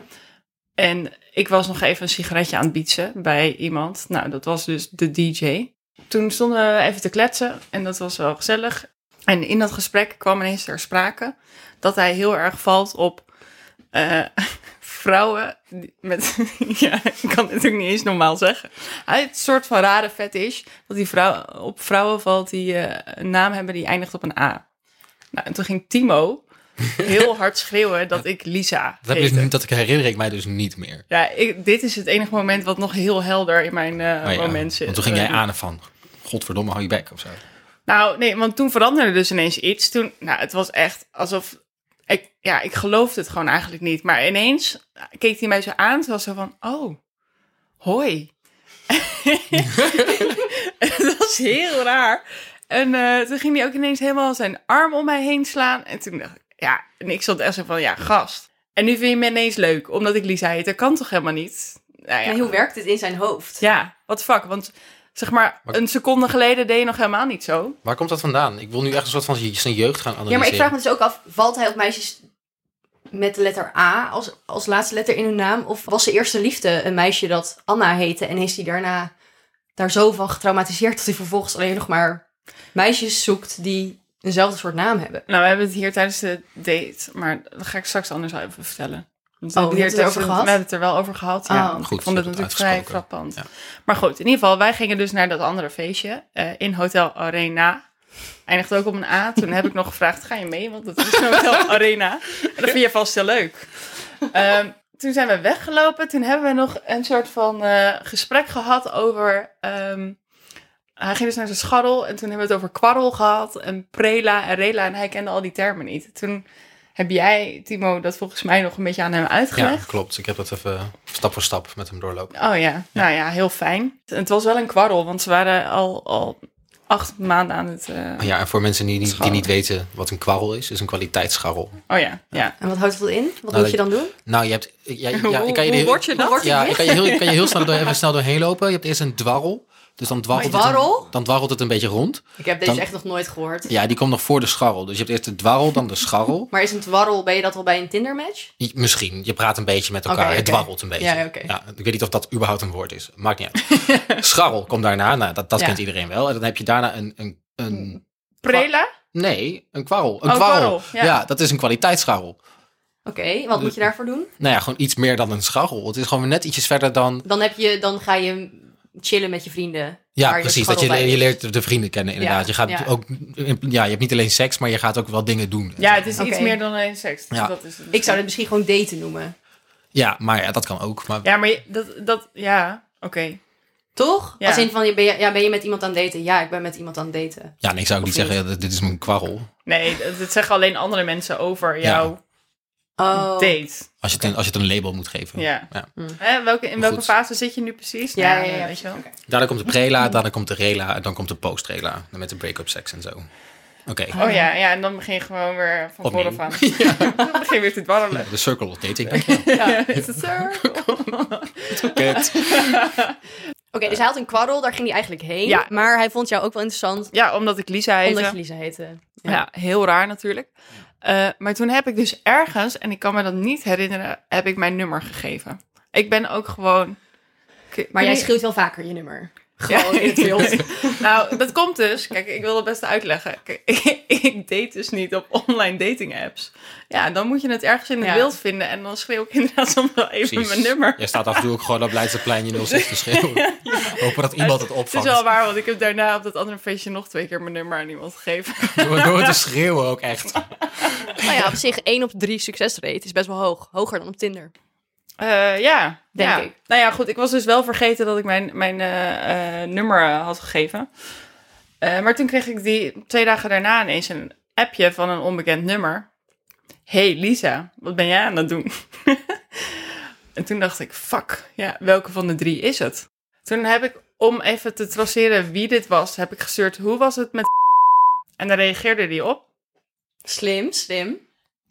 [SPEAKER 4] En ik was nog even een sigaretje aan het bietsen bij iemand. Nou, dat was dus de DJ. Toen stonden we even te kletsen en dat was wel gezellig. En in dat gesprek kwam ineens ter sprake dat hij heel erg valt op eh, vrouwen die- met, ja, ik kan het natuurlijk niet eens normaal zeggen. Hij heeft een soort van rare fetish dat die vrouw, op vrouwen valt die eh, een naam hebben die eindigt op een A. Nou, en toen ging Timo heel hard schreeuwen dat ik Lisa
[SPEAKER 1] Dat, heb ik
[SPEAKER 4] heette.
[SPEAKER 1] dus, dat ik herinner ik mij dus niet meer.
[SPEAKER 4] Ja, ik- dit is het enige moment wat nog heel helder in mijn eh,
[SPEAKER 1] Maar Oh Ah, ja,
[SPEAKER 4] moment zit.
[SPEAKER 1] want toen ging jij
[SPEAKER 4] Eh,
[SPEAKER 1] aan van, godverdomme, hou je bek of zo.
[SPEAKER 4] Nou, nee, want toen veranderde dus ineens iets. Toen, nou, het was echt alsof... Ik, ja, ik geloofde het gewoon eigenlijk niet. Maar ineens keek hij mij zo aan. Toen was zo van, oh, hoi. het was heel raar. En eh, toen ging hij ook ineens helemaal zijn arm om mij heen slaan. En toen dacht ik, ja, en ik zat echt zo van, ja, gast. En nu vind je me ineens leuk, omdat ik Lisa heet. Dat kan toch helemaal niet? Nou ja,
[SPEAKER 2] En hoe werkt het in zijn hoofd?
[SPEAKER 4] ja wat fuck. Want zeg maar,
[SPEAKER 1] Maar-
[SPEAKER 4] een seconde geleden deed je nog helemaal niet zo.
[SPEAKER 1] Waar komt dat vandaan? Ik wil nu echt een soort van je- zijn jeugd gaan
[SPEAKER 2] Ja,
[SPEAKER 1] analyseren.
[SPEAKER 2] maar ik vraag me dus ook af, valt hij op meisjes met de letter A als, als laatste letter in hun naam? Of was zijn eerste liefde een meisje dat Anna heette en is hij daarna daar zo van getraumatiseerd dat hij vervolgens alleen nog maar meisjes zoekt die eenzelfde soort naam hebben?
[SPEAKER 4] Nou, we hebben het hier tijdens de date, maar dat ga ik straks anders wel even vertellen. Want we
[SPEAKER 2] Oh,
[SPEAKER 4] hebben
[SPEAKER 2] je hebt het
[SPEAKER 4] tijdens
[SPEAKER 2] erover
[SPEAKER 4] de-
[SPEAKER 2] gehad?
[SPEAKER 4] We hebben het er wel over gehad.
[SPEAKER 2] Oh.
[SPEAKER 4] Ja, want
[SPEAKER 1] Goed,
[SPEAKER 4] ik vond
[SPEAKER 1] je
[SPEAKER 4] het
[SPEAKER 1] hebt het
[SPEAKER 4] natuurlijk vrij
[SPEAKER 1] uitgesproken.
[SPEAKER 4] frappant.
[SPEAKER 1] Ja.
[SPEAKER 4] Maar goed, in ieder geval, wij gingen dus naar dat andere feestje eh, in Hotel Arena. Eindigt ook op een A. Toen heb ik nog gevraagd, ga je mee? Want dat is een Hotel Arena. En dat vind je vast heel leuk. Ehm, toen zijn we weggelopen. Toen hebben we nog een soort van eh, gesprek gehad over... ehm, hij ging dus naar zijn scharrel en toen hebben we het over kwarrel gehad en prela en rela en hij kende al die termen niet. Toen heb jij, Timo, dat volgens mij nog een beetje aan hem
[SPEAKER 1] Ja,
[SPEAKER 4] uitgelegd.
[SPEAKER 1] klopt. Ik heb dat even stap voor stap met hem doorlopen.
[SPEAKER 4] Oh ja, nou ja, heel fijn. Het was wel een kwarrel, want ze waren al, al acht maanden aan het... eh,
[SPEAKER 1] Ah, Ja, en voor mensen die, niet- die
[SPEAKER 4] Scharrel.
[SPEAKER 1] niet weten wat een kwarrel is, is een kwaliteitsscharrel.
[SPEAKER 4] Oh ja, ja.
[SPEAKER 2] En wat houdt dat in? Wat
[SPEAKER 1] Nou,
[SPEAKER 2] moet je dan doen?
[SPEAKER 1] Nou, je hebt... Ja, ja,
[SPEAKER 4] hoe
[SPEAKER 1] ik kan je
[SPEAKER 4] hoe
[SPEAKER 1] de-
[SPEAKER 4] word je dat?
[SPEAKER 2] word je
[SPEAKER 1] Ja,
[SPEAKER 2] dit?
[SPEAKER 1] ik kan je heel, ik kan je heel snel, door, even snel doorheen lopen. Je hebt eerst een dwarrel. Dus dan dwarrelt, het
[SPEAKER 2] Dwarrel?
[SPEAKER 1] een, dan dwarrelt het een beetje rond.
[SPEAKER 2] Ik heb
[SPEAKER 1] deze Dan-
[SPEAKER 2] echt nog nooit gehoord.
[SPEAKER 1] Ja, die komt nog voor de scharrel. Dus je hebt eerst de dwarrel, dan de scharrel.
[SPEAKER 2] Maar is een dwarrel, ben je dat al bij een Tinder-match?
[SPEAKER 1] Je- Misschien, je praat een beetje met elkaar.
[SPEAKER 2] Oké,
[SPEAKER 1] Het
[SPEAKER 2] oké.
[SPEAKER 1] dwarrelt een beetje.
[SPEAKER 2] Ja, oké.
[SPEAKER 1] ik weet niet of dat überhaupt een woord is. Maakt niet uit. Scharrel komt daarna. Nou, dat, dat
[SPEAKER 4] Ja.
[SPEAKER 1] kent iedereen wel. En dan heb je daarna een... een, een
[SPEAKER 4] Prela?
[SPEAKER 1] nee, een kwarrel. Een
[SPEAKER 4] Oh,
[SPEAKER 1] kwarrel.
[SPEAKER 4] kwarrel,
[SPEAKER 1] Ja.
[SPEAKER 4] ja.
[SPEAKER 1] dat is een kwaliteitsscharrel.
[SPEAKER 2] Oké, wat moet je daarvoor doen?
[SPEAKER 1] Nou ja, gewoon iets meer dan een scharrel. Het is gewoon net ietsjes verder dan...
[SPEAKER 2] Dan, heb je, dan ga je chillen met je vrienden.
[SPEAKER 1] Ja,
[SPEAKER 2] waar
[SPEAKER 1] precies.
[SPEAKER 2] dus
[SPEAKER 1] Dat je,
[SPEAKER 2] scharrel bij
[SPEAKER 1] je
[SPEAKER 2] is.
[SPEAKER 1] leert de vrienden kennen inderdaad.
[SPEAKER 2] Ja,
[SPEAKER 1] je gaat
[SPEAKER 2] ja.
[SPEAKER 1] ook... Ja, je hebt niet alleen seks, maar je gaat ook wel dingen doen.
[SPEAKER 4] Ja, het is iets
[SPEAKER 2] Oké.
[SPEAKER 4] meer dan alleen seks. dus
[SPEAKER 1] Ja.
[SPEAKER 4] Dat is het.
[SPEAKER 2] Ik zou het misschien gewoon daten noemen.
[SPEAKER 1] Ja, maar ja, dat kan ook. Maar
[SPEAKER 4] Ja, maar je- dat... dat ja, oké.
[SPEAKER 2] Toch?
[SPEAKER 4] Ja.
[SPEAKER 2] Als in van, je- ben je, ja, ben je met iemand aan het daten? Ja, ik ben met iemand aan het daten.
[SPEAKER 1] Ja, nee, ik zou ook niet
[SPEAKER 4] Of niet?
[SPEAKER 1] zeggen, ja, dit is mijn kwarrel.
[SPEAKER 4] Nee, dat dat zeggen alleen andere mensen over
[SPEAKER 1] Ja.
[SPEAKER 4] jouw
[SPEAKER 2] Oh.
[SPEAKER 4] date.
[SPEAKER 1] Als je, het een, als je het een label moet geven.
[SPEAKER 4] Ja.
[SPEAKER 1] Ja.
[SPEAKER 4] Hè, welke, in welke
[SPEAKER 1] Goed.
[SPEAKER 4] fase zit je nu precies?
[SPEAKER 2] Ja,
[SPEAKER 4] Nou,
[SPEAKER 2] ja, ja,
[SPEAKER 4] Weet je wel.
[SPEAKER 1] Daarna komt de prela, daarna komt de rela en dan komt de postrela. Dan met de break-up seks en zo. Oké.
[SPEAKER 4] Oh ja, ja, en dan begin je gewoon weer van
[SPEAKER 1] Opnieuw.
[SPEAKER 4] voren van. Dan begin je weer te dwarrelen.
[SPEAKER 1] De circle of dating. Dankjewel.
[SPEAKER 2] Ja. Oké,
[SPEAKER 1] Kut.
[SPEAKER 2] dus hij had een kwarrel, daar ging hij eigenlijk heen.
[SPEAKER 4] Ja.
[SPEAKER 2] Maar hij vond jou ook wel interessant,
[SPEAKER 4] Ja, omdat ik Lisa heette.
[SPEAKER 2] omdat je Lisa heette.
[SPEAKER 4] ja. heel raar natuurlijk. Eh, maar toen heb ik dus ergens, en ik kan me dat niet herinneren, heb ik mijn nummer gegeven. Ik ben ook gewoon... Ik-
[SPEAKER 2] Maar jij
[SPEAKER 4] Nee.
[SPEAKER 2] schreeuwt wel vaker je nummer.
[SPEAKER 4] Ja.
[SPEAKER 2] Gewoon in het wild.
[SPEAKER 4] Nou, dat komt dus. Kijk, ik wil het best uitleggen. Kijk, ik, date dus niet op online dating apps. Ja, dan moet je het ergens in het
[SPEAKER 2] Ja.
[SPEAKER 4] wild vinden. En dan schreeuw ik inderdaad soms wel even
[SPEAKER 1] Precies.
[SPEAKER 4] mijn nummer.
[SPEAKER 1] Jij staat af en toe ook gewoon op Leidseplein 06 te schreeuwen. Hopen dat iemand het
[SPEAKER 4] Het is
[SPEAKER 1] opvangt.
[SPEAKER 4] wel waar, want ik heb daarna op dat andere feestje nog twee keer mijn nummer aan iemand gegeven.
[SPEAKER 1] Door, door te schreeuwen ook echt.
[SPEAKER 2] nou ja, op zich 1 op 3 succesrate is best wel hoog. Hoger dan op Tinder.
[SPEAKER 4] Eh, ja,
[SPEAKER 2] Denk
[SPEAKER 4] ja.
[SPEAKER 2] ik.
[SPEAKER 4] Nou ja, goed, ik was dus wel vergeten dat ik mijn, mijn eh, eh, nummer eh, had gegeven. Eh, maar toen kreeg ik die twee dagen daarna ineens een appje van een onbekend nummer. Hey Lisa, wat ben jij aan het doen? en toen dacht ik, fuck, ja, welke van de drie is het? Toen heb ik, om even te traceren wie dit was, heb ik gestuurd, hoe was het met En daar reageerde die op.
[SPEAKER 2] Slim, slim.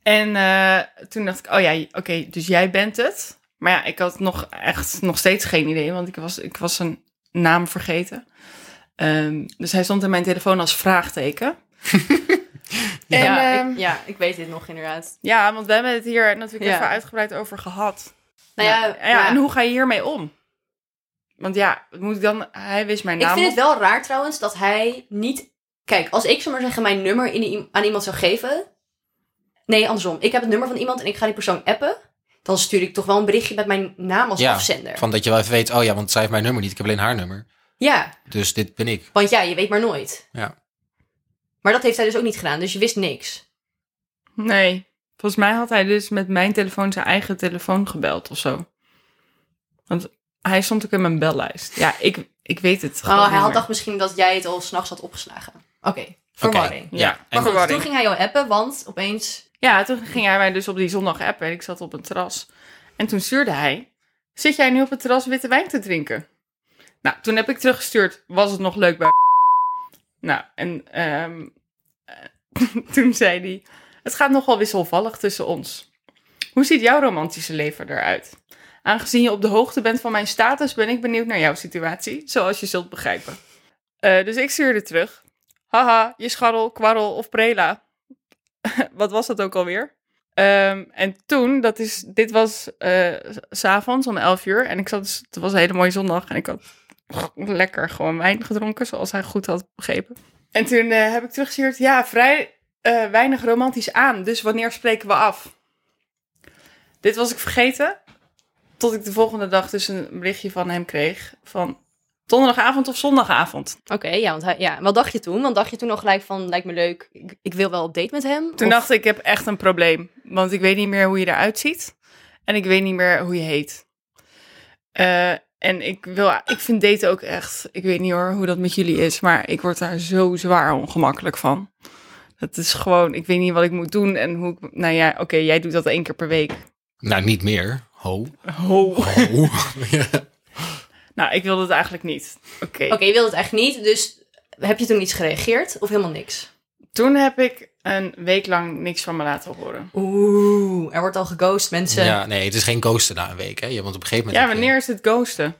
[SPEAKER 4] En eh, toen dacht ik, oh ja, oké, dus jij bent het. Maar ja, ik had nog echt nog steeds geen idee, want ik was, ik was een naam vergeten. Ehm, dus hij stond in mijn telefoon als vraagteken. en,
[SPEAKER 2] ja,
[SPEAKER 4] ehm,
[SPEAKER 2] ik, ja, ik weet dit nog inderdaad.
[SPEAKER 4] ja, want we hebben het hier natuurlijk
[SPEAKER 2] Ja.
[SPEAKER 4] even uitgebreid over gehad.
[SPEAKER 2] Nou ja,
[SPEAKER 4] ja, En hoe ga je hiermee om? Want ja, moet ik dan... Hij wist mijn
[SPEAKER 2] Ik
[SPEAKER 4] naam
[SPEAKER 2] vind
[SPEAKER 4] op.
[SPEAKER 2] het wel raar trouwens dat hij niet... Kijk, als ik zomaar zeggen mijn nummer in, aan iemand zou geven... Nee, andersom. Ik heb het nummer van iemand en ik ga die persoon appen. dan stuur ik toch wel een berichtje met mijn naam als
[SPEAKER 1] Ja,
[SPEAKER 2] afzender.
[SPEAKER 1] Van dat je wel even weet, oh ja, want zij heeft mijn nummer niet. Ik heb alleen haar nummer.
[SPEAKER 2] Ja,
[SPEAKER 1] Dus dit ben ik.
[SPEAKER 2] want ja, je weet maar nooit.
[SPEAKER 1] Ja.
[SPEAKER 2] Maar dat heeft hij dus ook niet gedaan, dus je wist niks.
[SPEAKER 4] Nee. Volgens mij had hij dus met mijn telefoon zijn eigen telefoon gebeld of zo. Want hij stond ook in mijn bellijst. Ja, ik, ik weet het. gewoon
[SPEAKER 2] Oh, hij
[SPEAKER 4] niet
[SPEAKER 2] had
[SPEAKER 4] meer.
[SPEAKER 2] dacht misschien dat jij het al s'nachts had opgeslagen. Oké,
[SPEAKER 1] Oké,
[SPEAKER 2] verwarring.
[SPEAKER 1] Ja. En,
[SPEAKER 2] Maar
[SPEAKER 4] Maar
[SPEAKER 2] goed, toen
[SPEAKER 4] verwarring.
[SPEAKER 2] ging hij jou appen, want opeens...
[SPEAKER 4] Ja, toen ging hij mij dus op die zondag appen en ik zat op een terras. En toen stuurde hij, zit jij nu op het terras witte wijn te drinken? Nou, toen heb ik teruggestuurd, was het nog leuk bij Nou, en ehm, eh, toen zei hij, het gaat nogal wisselvallig tussen ons. Hoe ziet jouw romantische leven eruit? Aangezien je op de hoogte bent van mijn status, ben ik benieuwd naar jouw situatie, zoals je zult begrijpen. Eh, dus ik stuurde terug, haha, je scharrel, kwarrel of prela wat was dat ook alweer? Ehm, en toen, dat is, dit was eh, s s'avonds om 11 uur. En ik zat, dus- het was een hele mooie zondag. En ik had lekker gewoon wijn gedronken, zoals hij goed had begrepen. En toen eh, heb ik teruggestuurd, ja, vrij eh, weinig romantisch aan. Dus wanneer spreken we af? Dit was ik vergeten. Tot ik de volgende dag dus een berichtje van hem kreeg. Van donderdagavond of zondagavond.
[SPEAKER 2] Oké, ja, want hij, ja, wat dacht je toen? Want dacht je toen al gelijk van, lijkt me leuk, ik, ik wil wel op date met hem?
[SPEAKER 4] Toen
[SPEAKER 2] Of-
[SPEAKER 4] dacht ik, ik heb echt een probleem. Want ik weet niet meer hoe je eruit ziet. En ik weet niet meer hoe je heet. Eh, en ik, wil, ik vind daten ook echt... Ik weet niet hoor hoe dat met jullie is. Maar ik word daar zo zwaar ongemakkelijk van. Dat is gewoon... Ik weet niet wat ik moet doen. En hoe ik... Nou ja, oké, jij doet dat één keer per week.
[SPEAKER 1] nou, niet meer. Ho.
[SPEAKER 4] Ho.
[SPEAKER 1] Ho. ja.
[SPEAKER 4] Nou, ik wil dat eigenlijk niet. Oké.
[SPEAKER 2] Oké, je wilde het echt niet, dus heb je toen iets gereageerd of helemaal niks?
[SPEAKER 4] Toen heb ik een week lang niks van me laten horen.
[SPEAKER 2] Oeh, er wordt al geghost, mensen.
[SPEAKER 1] ja, nee, het is geen ghosten na een week. Hè? Je- Want op een gegeven moment.
[SPEAKER 4] Ja,
[SPEAKER 1] heb je-
[SPEAKER 4] wanneer is het ghosten?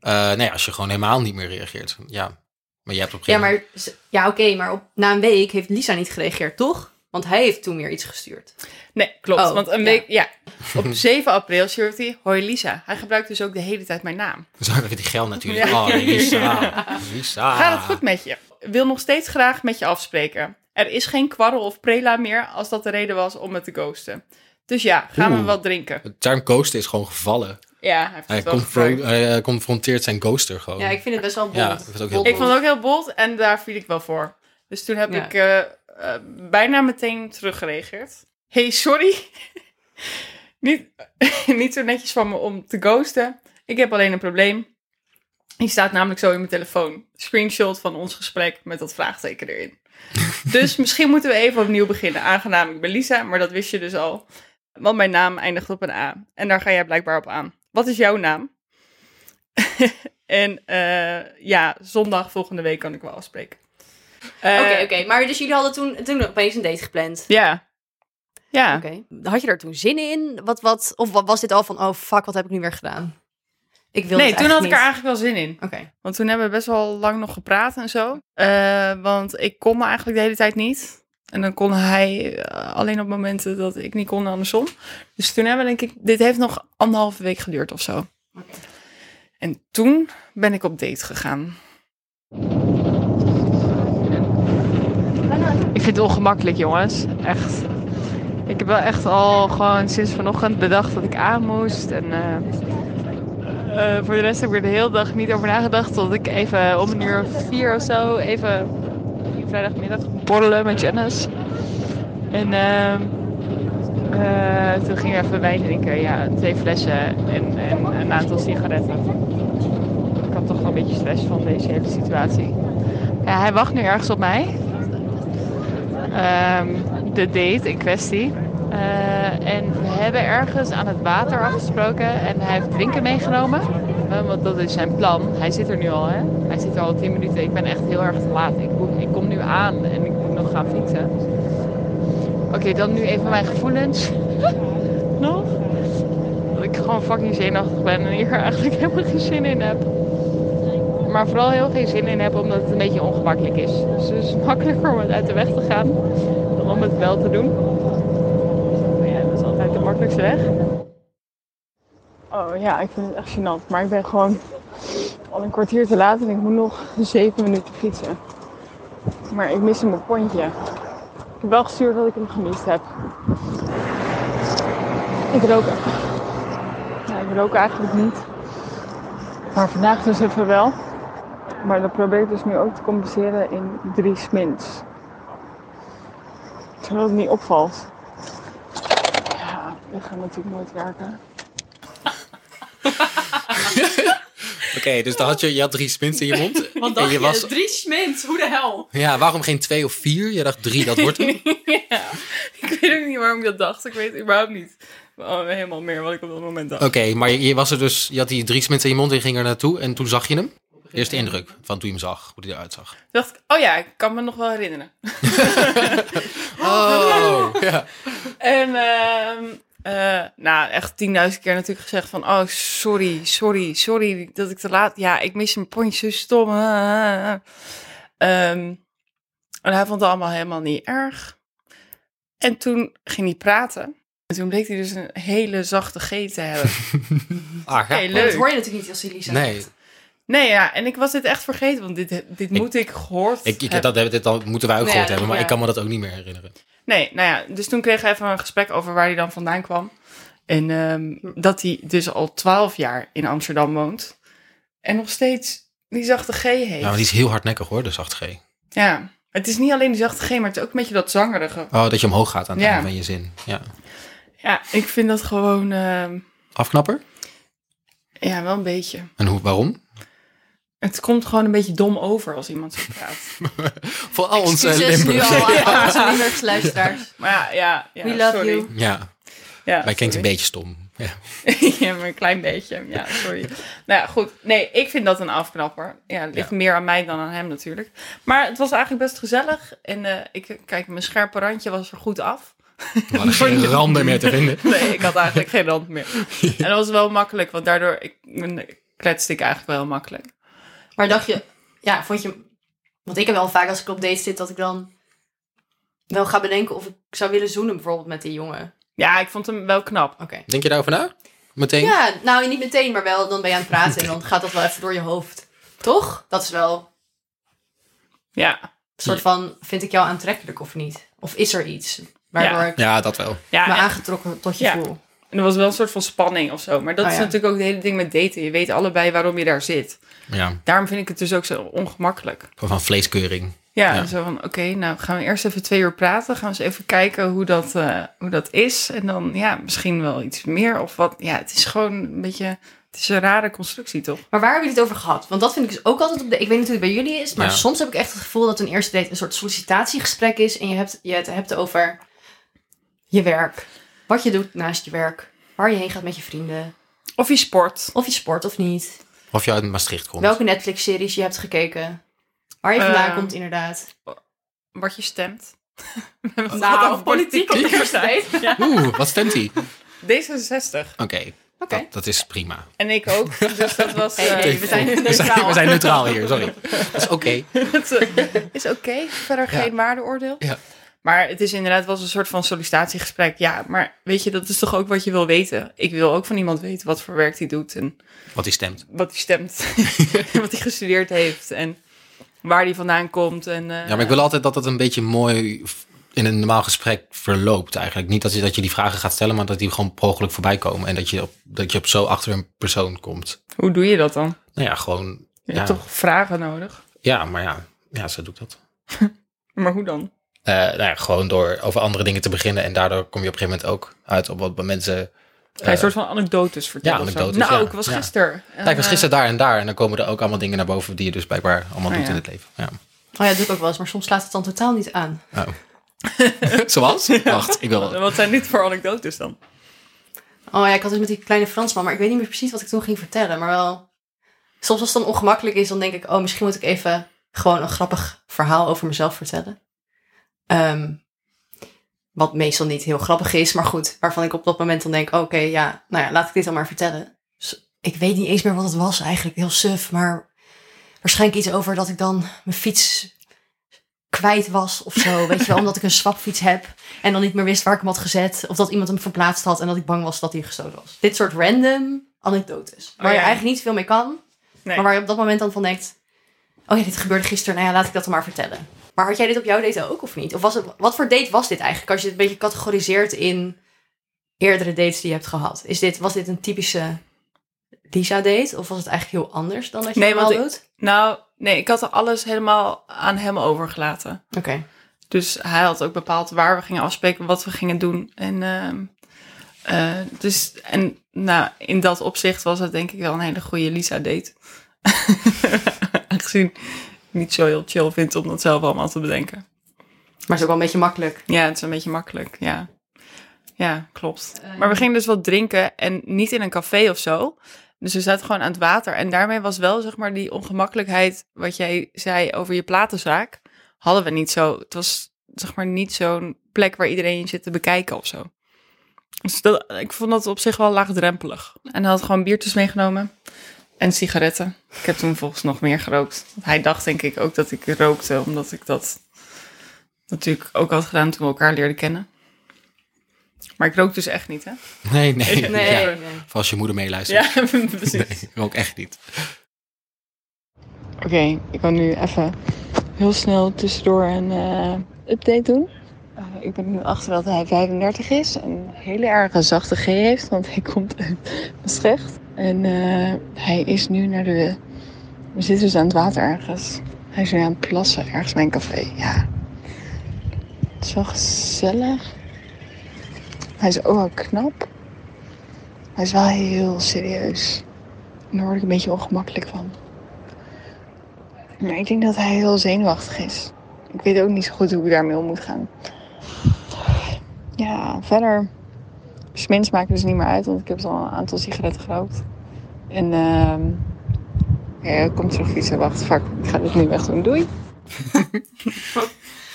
[SPEAKER 1] Eh, nee, als je gewoon helemaal niet meer reageert. Ja. Maar je hebt op een
[SPEAKER 2] Ja,
[SPEAKER 1] gegeven
[SPEAKER 2] maar, ze- ja, oké, maar op, na een week heeft Lisa niet gereageerd, toch? Want hij heeft toen weer iets gestuurd.
[SPEAKER 4] Nee, klopt.
[SPEAKER 2] Oh,
[SPEAKER 4] want een
[SPEAKER 2] ja.
[SPEAKER 4] week, ja. Op 7 april stuurt hij, hoi Lisa. Hij gebruikt dus ook de hele tijd mijn naam.
[SPEAKER 1] moment. Zo heb je die gel natuurlijk.
[SPEAKER 4] Ja.
[SPEAKER 1] Oh, Lisa.
[SPEAKER 2] Ah.
[SPEAKER 1] Lisa.
[SPEAKER 4] Gaat het goed met je? Wil nog steeds graag met je afspreken. Er is geen kwarrel of prela meer als dat de reden was om me te ghosten. Dus ja, gaan we
[SPEAKER 1] Oeh.
[SPEAKER 4] wat drinken.
[SPEAKER 1] De term ghosten is gewoon gevallen.
[SPEAKER 4] Ja, hij heeft
[SPEAKER 1] Hij,
[SPEAKER 4] het wel
[SPEAKER 1] confron-
[SPEAKER 4] gebruikt.
[SPEAKER 1] hij, eh, confronteert zijn ghoster gewoon.
[SPEAKER 2] Ja, ik vind het best wel bold.
[SPEAKER 1] Ja, ik vind het ook heel
[SPEAKER 4] Ik
[SPEAKER 2] Bold.
[SPEAKER 4] vond het ook heel bold en daar viel ik wel voor. Dus toen heb
[SPEAKER 2] Ja.
[SPEAKER 4] ik eh, eh, bijna meteen teruggereageerd. Hey, sorry. niet, niet zo netjes van me om te ghosten. Ik heb alleen een probleem. Die staat namelijk zo in mijn telefoon. Screenshot van ons gesprek met dat vraagteken erin. dus misschien moeten we even opnieuw beginnen. Aangenaam, ik ben Lisa, maar dat wist je dus al. Want mijn naam eindigt op een A. En daar ga jij blijkbaar op aan. Wat is jouw naam? en eh, ja, zondag volgende week kan ik wel afspreken. Eh,
[SPEAKER 2] Oké, oké, maar dus jullie hadden toen, toen opeens een date gepland.
[SPEAKER 4] Ja. Ja.
[SPEAKER 2] Oké. Had je daar toen zin in? Wat, wat, of wa- was dit al van, oh fuck, wat heb ik nu weer gedaan? Ik wilde
[SPEAKER 4] Nee,
[SPEAKER 2] het
[SPEAKER 4] toen had ik er
[SPEAKER 2] dus eigenlijk
[SPEAKER 4] eigenlijk wel zin in.
[SPEAKER 2] niet. Oké.
[SPEAKER 4] Want toen hebben we best wel lang nog gepraat en zo. Eh, want ik kon me eigenlijk de hele tijd niet. En dan kon hij eh, alleen op momenten dat ik niet kon andersom. Dus toen hebben we denk ik... Dit heeft nog anderhalve week geduurd of zo.
[SPEAKER 2] Oké.
[SPEAKER 4] En toen ben ik op date gegaan.
[SPEAKER 3] Ik vind het ongemakkelijk, jongens. Echt. Ik heb wel echt al gewoon sinds vanochtend de dag dat ik aan moest. En eh, eh, voor de rest heb ik er de hele dag niet over nagedacht. Tot ik even om een uur of vier of zo even vrijdagmiddag borrelen met Janice. En ehm, eh, toen gingen we even wijn drinken. Ja, twee flessen en, en een aantal sigaretten. Ik had toch wel een beetje stress van deze hele situatie. Ja, hij wacht nu ergens op mij ehm, de date in kwestie. Eh, en we hebben ergens aan het water afgesproken en hij heeft drinken meegenomen. Eh, want dat is zijn plan. Hij zit er nu al, hè? Hij zit er al tien minuten. Ik ben echt heel erg te laat. Ik, moet- ik kom nu aan en ik moet nog gaan fietsen. Oké, dan nu even mijn gevoelens. nog? Dat ik gewoon fucking zenuwachtig ben en hier eigenlijk helemaal geen zin in heb. Maar vooral heel geen zin in heb omdat het een beetje ongemakkelijk is. Dus het is makkelijker om het uit de weg te gaan dan om het wel te doen. Maar ja, dat is altijd de makkelijkste weg. Oh ja, ik vind het echt gênant. Maar ik ben gewoon al een kwartier te laat en ik moet nog zeven minuten fietsen. Maar ik mis mijn pontje. Ik heb wel gestuurd dat ik hem gemist heb. Ik rook we roken eigenlijk niet. Maar vandaag dus even wel. Maar dat probeer ik dus nu ook te compenseren in drie smins. Zodat het niet opvalt. Ja, dat gaat natuurlijk nooit werken.
[SPEAKER 1] Oké, dus dan had je, je had drie spins in je mond.
[SPEAKER 4] Want
[SPEAKER 1] en
[SPEAKER 4] dacht
[SPEAKER 1] je was,
[SPEAKER 4] drie smint, hoe de hel?
[SPEAKER 1] ja, waarom geen twee of vier? Je dacht drie, dat wordt hem.
[SPEAKER 4] ja, ik weet ook niet waarom ik dat dacht. Ik weet überhaupt niet oh, helemaal meer wat ik op dat moment dacht.
[SPEAKER 1] Oké, maar je, je was er dus, je had die drie spins in je mond en je ging er naartoe. En toen zag je hem. Eerste indruk van toen je hem zag, hoe hij eruit zag.
[SPEAKER 4] Toen dacht ik, oh ja, ik kan me nog wel herinneren.
[SPEAKER 1] Oh, ja.
[SPEAKER 4] En ehm, eh, nou, echt tienduizend keer natuurlijk gezegd van... Oh, sorry, sorry, sorry dat ik te laat... Ja, ik mis een pontje, zo stom. ah, ah, ah. Ehm, en hij vond het allemaal helemaal niet erg. En toen ging hij praten. En toen bleek hij dus een hele zachte G te hebben.
[SPEAKER 1] Ah, ja.
[SPEAKER 4] Hey, leuk.
[SPEAKER 2] Maar Dat hoor je natuurlijk niet als die Lisa
[SPEAKER 1] Nee,
[SPEAKER 2] zegt.
[SPEAKER 4] Nee, ja, en ik was dit echt vergeten, want dit, dit moet ik gehoord
[SPEAKER 1] ik, ik,
[SPEAKER 4] hebben.
[SPEAKER 1] dat, hebben- dit al, moeten wij ook
[SPEAKER 4] Nee,
[SPEAKER 1] gehoord
[SPEAKER 4] ja,
[SPEAKER 1] hebben, maar
[SPEAKER 4] ja.
[SPEAKER 1] ik kan me dat ook niet meer herinneren.
[SPEAKER 4] Nee, nou ja, dus toen kreeg hij even een gesprek over waar hij dan vandaan kwam. En ehm, dat hij dus al twaalf jaar in Amsterdam woont. En nog steeds die zachte G heeft.
[SPEAKER 1] Ja, maar Nou, die is heel hardnekkig hoor, de zacht G.
[SPEAKER 4] Ja, het is niet alleen die zachte G, maar het is ook een beetje dat zangerige.
[SPEAKER 1] Oh, dat je omhoog gaat aan het
[SPEAKER 4] Ja.
[SPEAKER 1] einde van je zin. Ja.
[SPEAKER 4] Ja, ik vind dat gewoon, ehm,
[SPEAKER 1] Afknapper?
[SPEAKER 4] ja, wel een beetje.
[SPEAKER 1] En hoe, waarom?
[SPEAKER 4] Het komt gewoon een beetje dom over als iemand zo praat.
[SPEAKER 1] Voor al onze
[SPEAKER 2] Excuses nu
[SPEAKER 1] Limburgers.
[SPEAKER 2] al aan onze Limburgse luisteraars.
[SPEAKER 4] Maar ja, ja, ja
[SPEAKER 2] We love
[SPEAKER 4] sorry.
[SPEAKER 2] you.
[SPEAKER 1] Ja,
[SPEAKER 4] Ja,
[SPEAKER 1] wij klinkt een
[SPEAKER 4] sorry.
[SPEAKER 1] beetje stom. Ja.
[SPEAKER 4] ja, maar een klein beetje. Ja, sorry. nou ja, goed. Nee, ik vind dat een afknapper. Ja, het ligt
[SPEAKER 1] Ja.
[SPEAKER 4] meer aan mij dan aan hem natuurlijk. Maar het was eigenlijk best gezellig. En eh, ik, kijk, mijn scherpe randje was er goed af.
[SPEAKER 1] We hadden geen randen meer te vinden.
[SPEAKER 4] Nee, ik had eigenlijk geen rand meer. En dat was wel makkelijk, want daardoor ik, ik kletste ik eigenlijk wel makkelijk.
[SPEAKER 2] Maar dacht je, ja, vond je... Want ik heb wel vaak als ik op date zit, dat ik dan wel ga bedenken of ik zou willen zoenen bijvoorbeeld met die jongen.
[SPEAKER 4] Ja, ik vond hem wel knap.
[SPEAKER 2] Oké.
[SPEAKER 1] Denk je daarover na? Meteen?
[SPEAKER 2] Ja, nou niet meteen, maar wel dan ben je aan het praten en dan gaat dat wel even door je hoofd. Toch? Dat is wel een
[SPEAKER 4] Ja,
[SPEAKER 2] soort van, vind ik jou aantrekkelijk of niet? Of is er iets waardoor
[SPEAKER 4] Ja.
[SPEAKER 2] ik
[SPEAKER 1] Ja, dat wel.
[SPEAKER 4] ja
[SPEAKER 2] me
[SPEAKER 4] en,
[SPEAKER 2] aangetrokken tot je
[SPEAKER 4] Ja.
[SPEAKER 2] voel?
[SPEAKER 4] en er was wel een soort van spanning of zo. Maar dat
[SPEAKER 2] Oh
[SPEAKER 4] is
[SPEAKER 2] ja.
[SPEAKER 4] natuurlijk ook het hele ding met daten. Je weet allebei waarom je daar zit.
[SPEAKER 1] Ja,
[SPEAKER 4] Daarom vind ik het dus ook zo ongemakkelijk.
[SPEAKER 1] van vleeskeuring.
[SPEAKER 4] Ja,
[SPEAKER 1] Ja.
[SPEAKER 4] zo van, oké, nou gaan we eerst even twee uur praten. Gaan we eens even kijken hoe dat, eh, hoe dat is. En dan, ja, misschien wel iets meer of wat. Ja, het is gewoon een beetje, het is een rare constructie, toch?
[SPEAKER 2] Maar waar hebben jullie het over gehad? Want dat vind ik dus ook altijd op de. Ik weet niet hoe het bij jullie is, maar
[SPEAKER 1] Ja.
[SPEAKER 2] soms heb ik echt het gevoel dat een eerste date een soort sollicitatiegesprek is. En je hebt, je het hebt over je werk. Wat je doet naast je werk. Waar je heen gaat met je vrienden.
[SPEAKER 4] Of je sport.
[SPEAKER 2] Of je sport of niet.
[SPEAKER 1] Of je uit Maastricht komt.
[SPEAKER 2] Welke Netflix-series je hebt gekeken. Waar je vandaan
[SPEAKER 4] Eh,
[SPEAKER 2] komt, inderdaad.
[SPEAKER 4] Wat je stemt. We hebben het gehad
[SPEAKER 2] Nou,
[SPEAKER 4] over politiek op de eerste date.
[SPEAKER 1] Oeh, wat stemt hij? Oké,
[SPEAKER 4] D66.
[SPEAKER 2] Oké.
[SPEAKER 1] dat, dat is prima.
[SPEAKER 4] En ik ook. Dus dat was...
[SPEAKER 2] Hey,
[SPEAKER 4] eh,
[SPEAKER 2] hey, we zijn
[SPEAKER 1] We zijn, we
[SPEAKER 2] neutraal.
[SPEAKER 1] zijn neutraal hier, sorry. Dat is oké.
[SPEAKER 4] Het eh, is oké, verder
[SPEAKER 1] Ja.
[SPEAKER 4] geen waardeoordeel.
[SPEAKER 1] Ja.
[SPEAKER 4] Maar het is inderdaad wel eens een soort van sollicitatiegesprek. Ja, maar weet je, dat is toch ook wat je wil weten. Ik wil ook van iemand weten wat voor werk hij doet en
[SPEAKER 1] Wat hij stemt.
[SPEAKER 4] wat hij stemt, en wat hij gestudeerd heeft en waar hij vandaan komt. En, eh,
[SPEAKER 1] Ja, maar ik wil altijd dat het een beetje mooi v- in een normaal gesprek verloopt eigenlijk. Niet dat je, dat je die vragen gaat stellen, maar dat die gewoon per ongeluk voorbij komen. En dat je op, dat je op zo achter een persoon komt.
[SPEAKER 4] Hoe doe je dat dan?
[SPEAKER 1] Nou ja, gewoon...
[SPEAKER 4] Je
[SPEAKER 1] Ja,
[SPEAKER 4] hebt toch vragen nodig?
[SPEAKER 1] ja maar ja. Ja, zo doe ik dat.
[SPEAKER 4] Maar hoe dan?
[SPEAKER 1] Eh, nou ja, gewoon door over andere dingen te beginnen. En daardoor kom je op een gegeven moment ook uit op wat mensen
[SPEAKER 4] Ga je een soort van anekdotes vertellen?
[SPEAKER 1] ja,
[SPEAKER 4] of zo?
[SPEAKER 1] anekdotes,
[SPEAKER 4] Nou,
[SPEAKER 1] ja.
[SPEAKER 4] ik was
[SPEAKER 1] Ja.
[SPEAKER 4] gisteren. En,
[SPEAKER 1] Kijk, was
[SPEAKER 4] eh,
[SPEAKER 1] gisteren daar en daar. En dan komen er ook allemaal dingen naar boven die je dus blijkbaar allemaal
[SPEAKER 4] Ah,
[SPEAKER 1] doet
[SPEAKER 4] ja.
[SPEAKER 1] in het leven. Ja.
[SPEAKER 2] Oh ja, dat doe ik ook wel eens, maar soms slaat het dan totaal niet aan.
[SPEAKER 1] Oh. Zoals? Wacht, ik wil...
[SPEAKER 4] Wat zijn dit voor anekdotes dan?
[SPEAKER 2] Oh ja, ik had dus met die kleine Fransman, maar ik weet niet meer precies wat ik toen ging vertellen. Maar wel, soms als het dan ongemakkelijk is, dan denk ik, oh, misschien moet ik even gewoon een grappig verhaal over mezelf vertellen. Ehm, wat meestal niet heel grappig is, maar goed, waarvan ik op dat moment dan denk, oké, ja, nou ja, laat ik dit dan maar vertellen. Dus ik weet niet eens meer wat het was eigenlijk, heel suf, maar waarschijnlijk iets over dat ik dan mijn fiets kwijt was of zo, weet je wel, omdat ik een swapfiets heb. En dan niet meer wist waar ik hem had gezet. Of dat iemand hem verplaatst had en dat ik bang was dat hij gestolen was. Dit soort random anekdotes. Waar
[SPEAKER 4] Oh ja.
[SPEAKER 2] je eigenlijk niet veel mee kan.
[SPEAKER 4] Nee.
[SPEAKER 2] Maar waar je op dat moment dan van denkt... Oh ja, dit gebeurde gisteren. Nou ja, laat ik dat dan maar vertellen. Maar had jij dit op jouw date ook of niet? Of was het, wat voor date was dit eigenlijk? Als je het een beetje categoriseert in eerdere dates die je hebt gehad. Is dit, was dit een typische Lisa deed? Of was het eigenlijk heel anders dan dat je
[SPEAKER 4] Nee,
[SPEAKER 2] normaal
[SPEAKER 4] want ik-
[SPEAKER 2] doet?
[SPEAKER 4] Nou, nee, ik had alles helemaal aan hem overgelaten.
[SPEAKER 2] Oké.
[SPEAKER 4] Dus hij had ook bepaald waar we gingen afspreken, wat we gingen doen. En, ehm, eh, dus, en nou, in dat opzicht was het denk ik wel een hele goede Lisa-date. Aangezien ik niet zo heel chill vind om dat zelf allemaal te bedenken.
[SPEAKER 2] Maar het is ook wel een beetje makkelijk.
[SPEAKER 4] Ja, het is een beetje makkelijk, ja. Ja, klopt. Maar we gingen dus wat drinken en niet in een café of zo. Dus we zaten gewoon aan het water. En daarmee was wel, zeg maar, die ongemakkelijkheid wat jij zei over je platenzaak, hadden we niet zo. Het was, zeg maar, niet zo'n plek waar iedereen je zit te bekijken of zo. Dus dat, ik vond dat op zich wel laagdrempelig. En hij had gewoon biertjes meegenomen en sigaretten. Ik heb toen volgens nog meer gerookt. Want hij dacht denk ik ook dat ik rookte, omdat ik dat natuurlijk ook had gedaan toen we elkaar leerden kennen. Maar ik rook dus echt niet, hè?
[SPEAKER 1] Nee, nee.
[SPEAKER 4] Nee.
[SPEAKER 1] Ja. Of als je moeder meeluistert.
[SPEAKER 4] precies.
[SPEAKER 1] Nee, ook echt niet.
[SPEAKER 3] Oké, ik kan nu even heel snel tussendoor een eh, update doen. Eh, ik ben nu achter dat hij 35 is en een hele erge zachte G heeft, want hij komt uit Maastricht. En eh, hij is nu naar de... We zitten dus aan het water ergens. Hij is nu aan het plassen ergens bij een café, ja. Het is wel gezellig. Hij is ook wel knap. Hij is wel heel serieus. En daar word ik een beetje ongemakkelijk van. Maar ik denk dat hij heel zenuwachtig is. Ik weet ook niet zo goed hoe ik daarmee om moet gaan. Ja, verder. Smins maakt dus niet meer uit, want ik heb al een aantal sigaretten gerookt. En ehm ja, er komt zo'n fietser. Wacht, fuck, ik ga dit nu weg doen. Doei.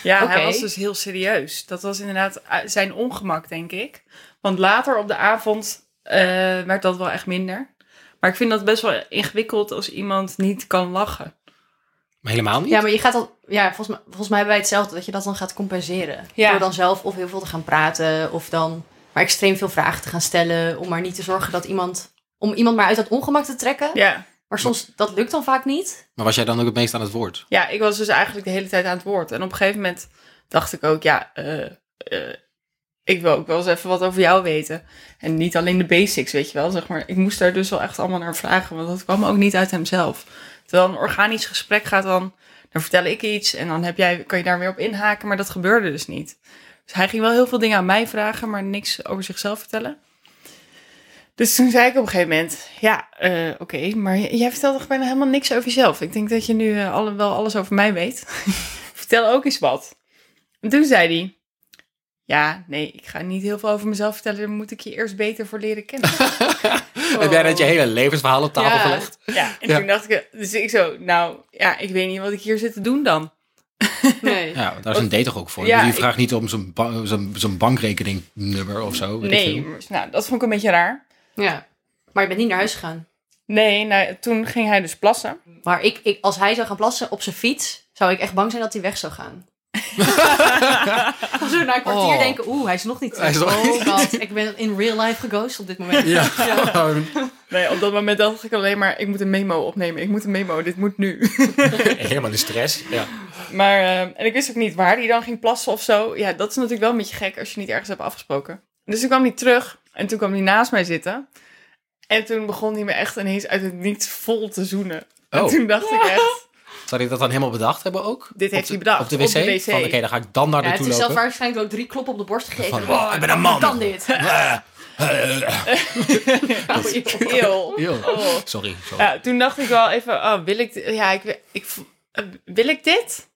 [SPEAKER 4] Ja,
[SPEAKER 2] Oké.
[SPEAKER 4] hij was dus heel serieus. Dat was inderdaad eh, zijn ongemak, denk ik. Want later op de avond eh, werd dat wel echt minder. Maar ik vind dat best wel ingewikkeld als iemand niet kan lachen.
[SPEAKER 1] Maar helemaal niet?
[SPEAKER 2] Ja, maar je gaat dat. Ja, volgens mij, volgens mij hebben wij hetzelfde. Dat je dat dan gaat compenseren.
[SPEAKER 4] Ja.
[SPEAKER 2] Door dan zelf of heel veel te gaan praten. Of dan maar extreem veel vragen te gaan stellen. Om maar niet te zorgen dat iemand. Om iemand maar uit dat ongemak te trekken.
[SPEAKER 4] Ja.
[SPEAKER 2] Maar soms, dat lukt dan vaak niet.
[SPEAKER 1] Maar was jij dan ook het meest aan het woord?
[SPEAKER 4] ja, ik was dus eigenlijk de hele tijd aan het woord. En op een gegeven moment dacht ik ook, ja, eh, eh, ik wil ook wel eens even wat over jou weten. En niet alleen de basics, weet je wel. Zeg maar, ik moest daar dus wel echt allemaal naar vragen, want dat kwam ook niet uit hemzelf. Terwijl een organisch gesprek gaat dan, dan vertel ik iets en dan heb jij, kan je daar weer op inhaken, maar dat gebeurde dus niet. Dus hij ging wel heel veel dingen aan mij vragen, maar niks over zichzelf vertellen. Dus toen zei ik op een gegeven moment, ja, eh, oké, maar j- jij vertelt toch bijna helemaal niks over jezelf. Ik denk dat je nu eh, alle, wel alles over mij weet. Vertel ook eens wat. En toen zei hij, ja, nee, ik ga niet heel veel over mezelf vertellen. Daar moet ik je eerst beter voor leren kennen.
[SPEAKER 1] Heb jij net je hele levensverhaal op tafel
[SPEAKER 4] Oh. ja.
[SPEAKER 1] gelegd?
[SPEAKER 4] Ja, en
[SPEAKER 1] Ja.
[SPEAKER 4] toen dacht ik, dus ik zo, nou, ja, ik weet niet wat ik hier zit te doen dan.
[SPEAKER 2] Nee.
[SPEAKER 1] Ja, want daar is een date toch ook voor?
[SPEAKER 4] Ja,
[SPEAKER 1] je
[SPEAKER 4] ik-
[SPEAKER 1] vraagt niet om zo'n ba- zo'n- zo'n bankrekeningnummer of zo. weet ik
[SPEAKER 4] Nee,
[SPEAKER 1] veel.
[SPEAKER 4] maar- nou, dat vond ik een beetje raar.
[SPEAKER 2] Ja. Maar je bent niet naar huis gegaan.
[SPEAKER 4] Nee, nou, toen ging hij dus plassen.
[SPEAKER 2] Maar ik, ik, als hij zou gaan plassen op zijn fiets. zou ik echt bang zijn dat hij weg zou gaan. Zo na een kwartier
[SPEAKER 1] Oh.
[SPEAKER 2] denken. Oeh, hij is nog niet terug.
[SPEAKER 1] Hij is nog
[SPEAKER 2] oh
[SPEAKER 1] niet-
[SPEAKER 2] god, ik ben in real life geghost op dit moment.
[SPEAKER 1] Ja,
[SPEAKER 4] Nee, op dat moment dacht ik alleen maar, ik moet een memo opnemen. Ik moet een memo, dit moet nu.
[SPEAKER 1] helemaal in stress. Ja.
[SPEAKER 4] Maar, eh, en ik wist ook niet waar hij dan ging plassen of zo. Ja, dat is natuurlijk wel een beetje gek als je niet ergens hebt afgesproken. Dus toen kwam hij terug en toen kwam hij naast mij zitten. En toen begon hij me echt ineens uit het niets vol te zoenen. En
[SPEAKER 1] Oh.
[SPEAKER 4] toen dacht ik echt,
[SPEAKER 1] Zou hij dat dan helemaal bedacht hebben ook?
[SPEAKER 4] Dit heeft
[SPEAKER 1] Op de-
[SPEAKER 4] hij bedacht,
[SPEAKER 1] Op de
[SPEAKER 4] op
[SPEAKER 1] wc?
[SPEAKER 4] de wc.
[SPEAKER 1] Van oké, dan ga ik dan daar
[SPEAKER 2] Ja, het
[SPEAKER 1] naartoe
[SPEAKER 2] is zelf
[SPEAKER 1] lopen.
[SPEAKER 2] waarschijnlijk ook drie kloppen op de borst gegeven.
[SPEAKER 1] Van, oh, ik ben een man.
[SPEAKER 2] Kan dit?
[SPEAKER 1] Ah.
[SPEAKER 4] oh, eeuw.
[SPEAKER 1] Yo.
[SPEAKER 4] Oh.
[SPEAKER 1] Sorry. sorry.
[SPEAKER 4] Ja, toen dacht ik wel even, oh, wil ik, di- ja, ik, wi- ik, vo- eh, wil ik dit?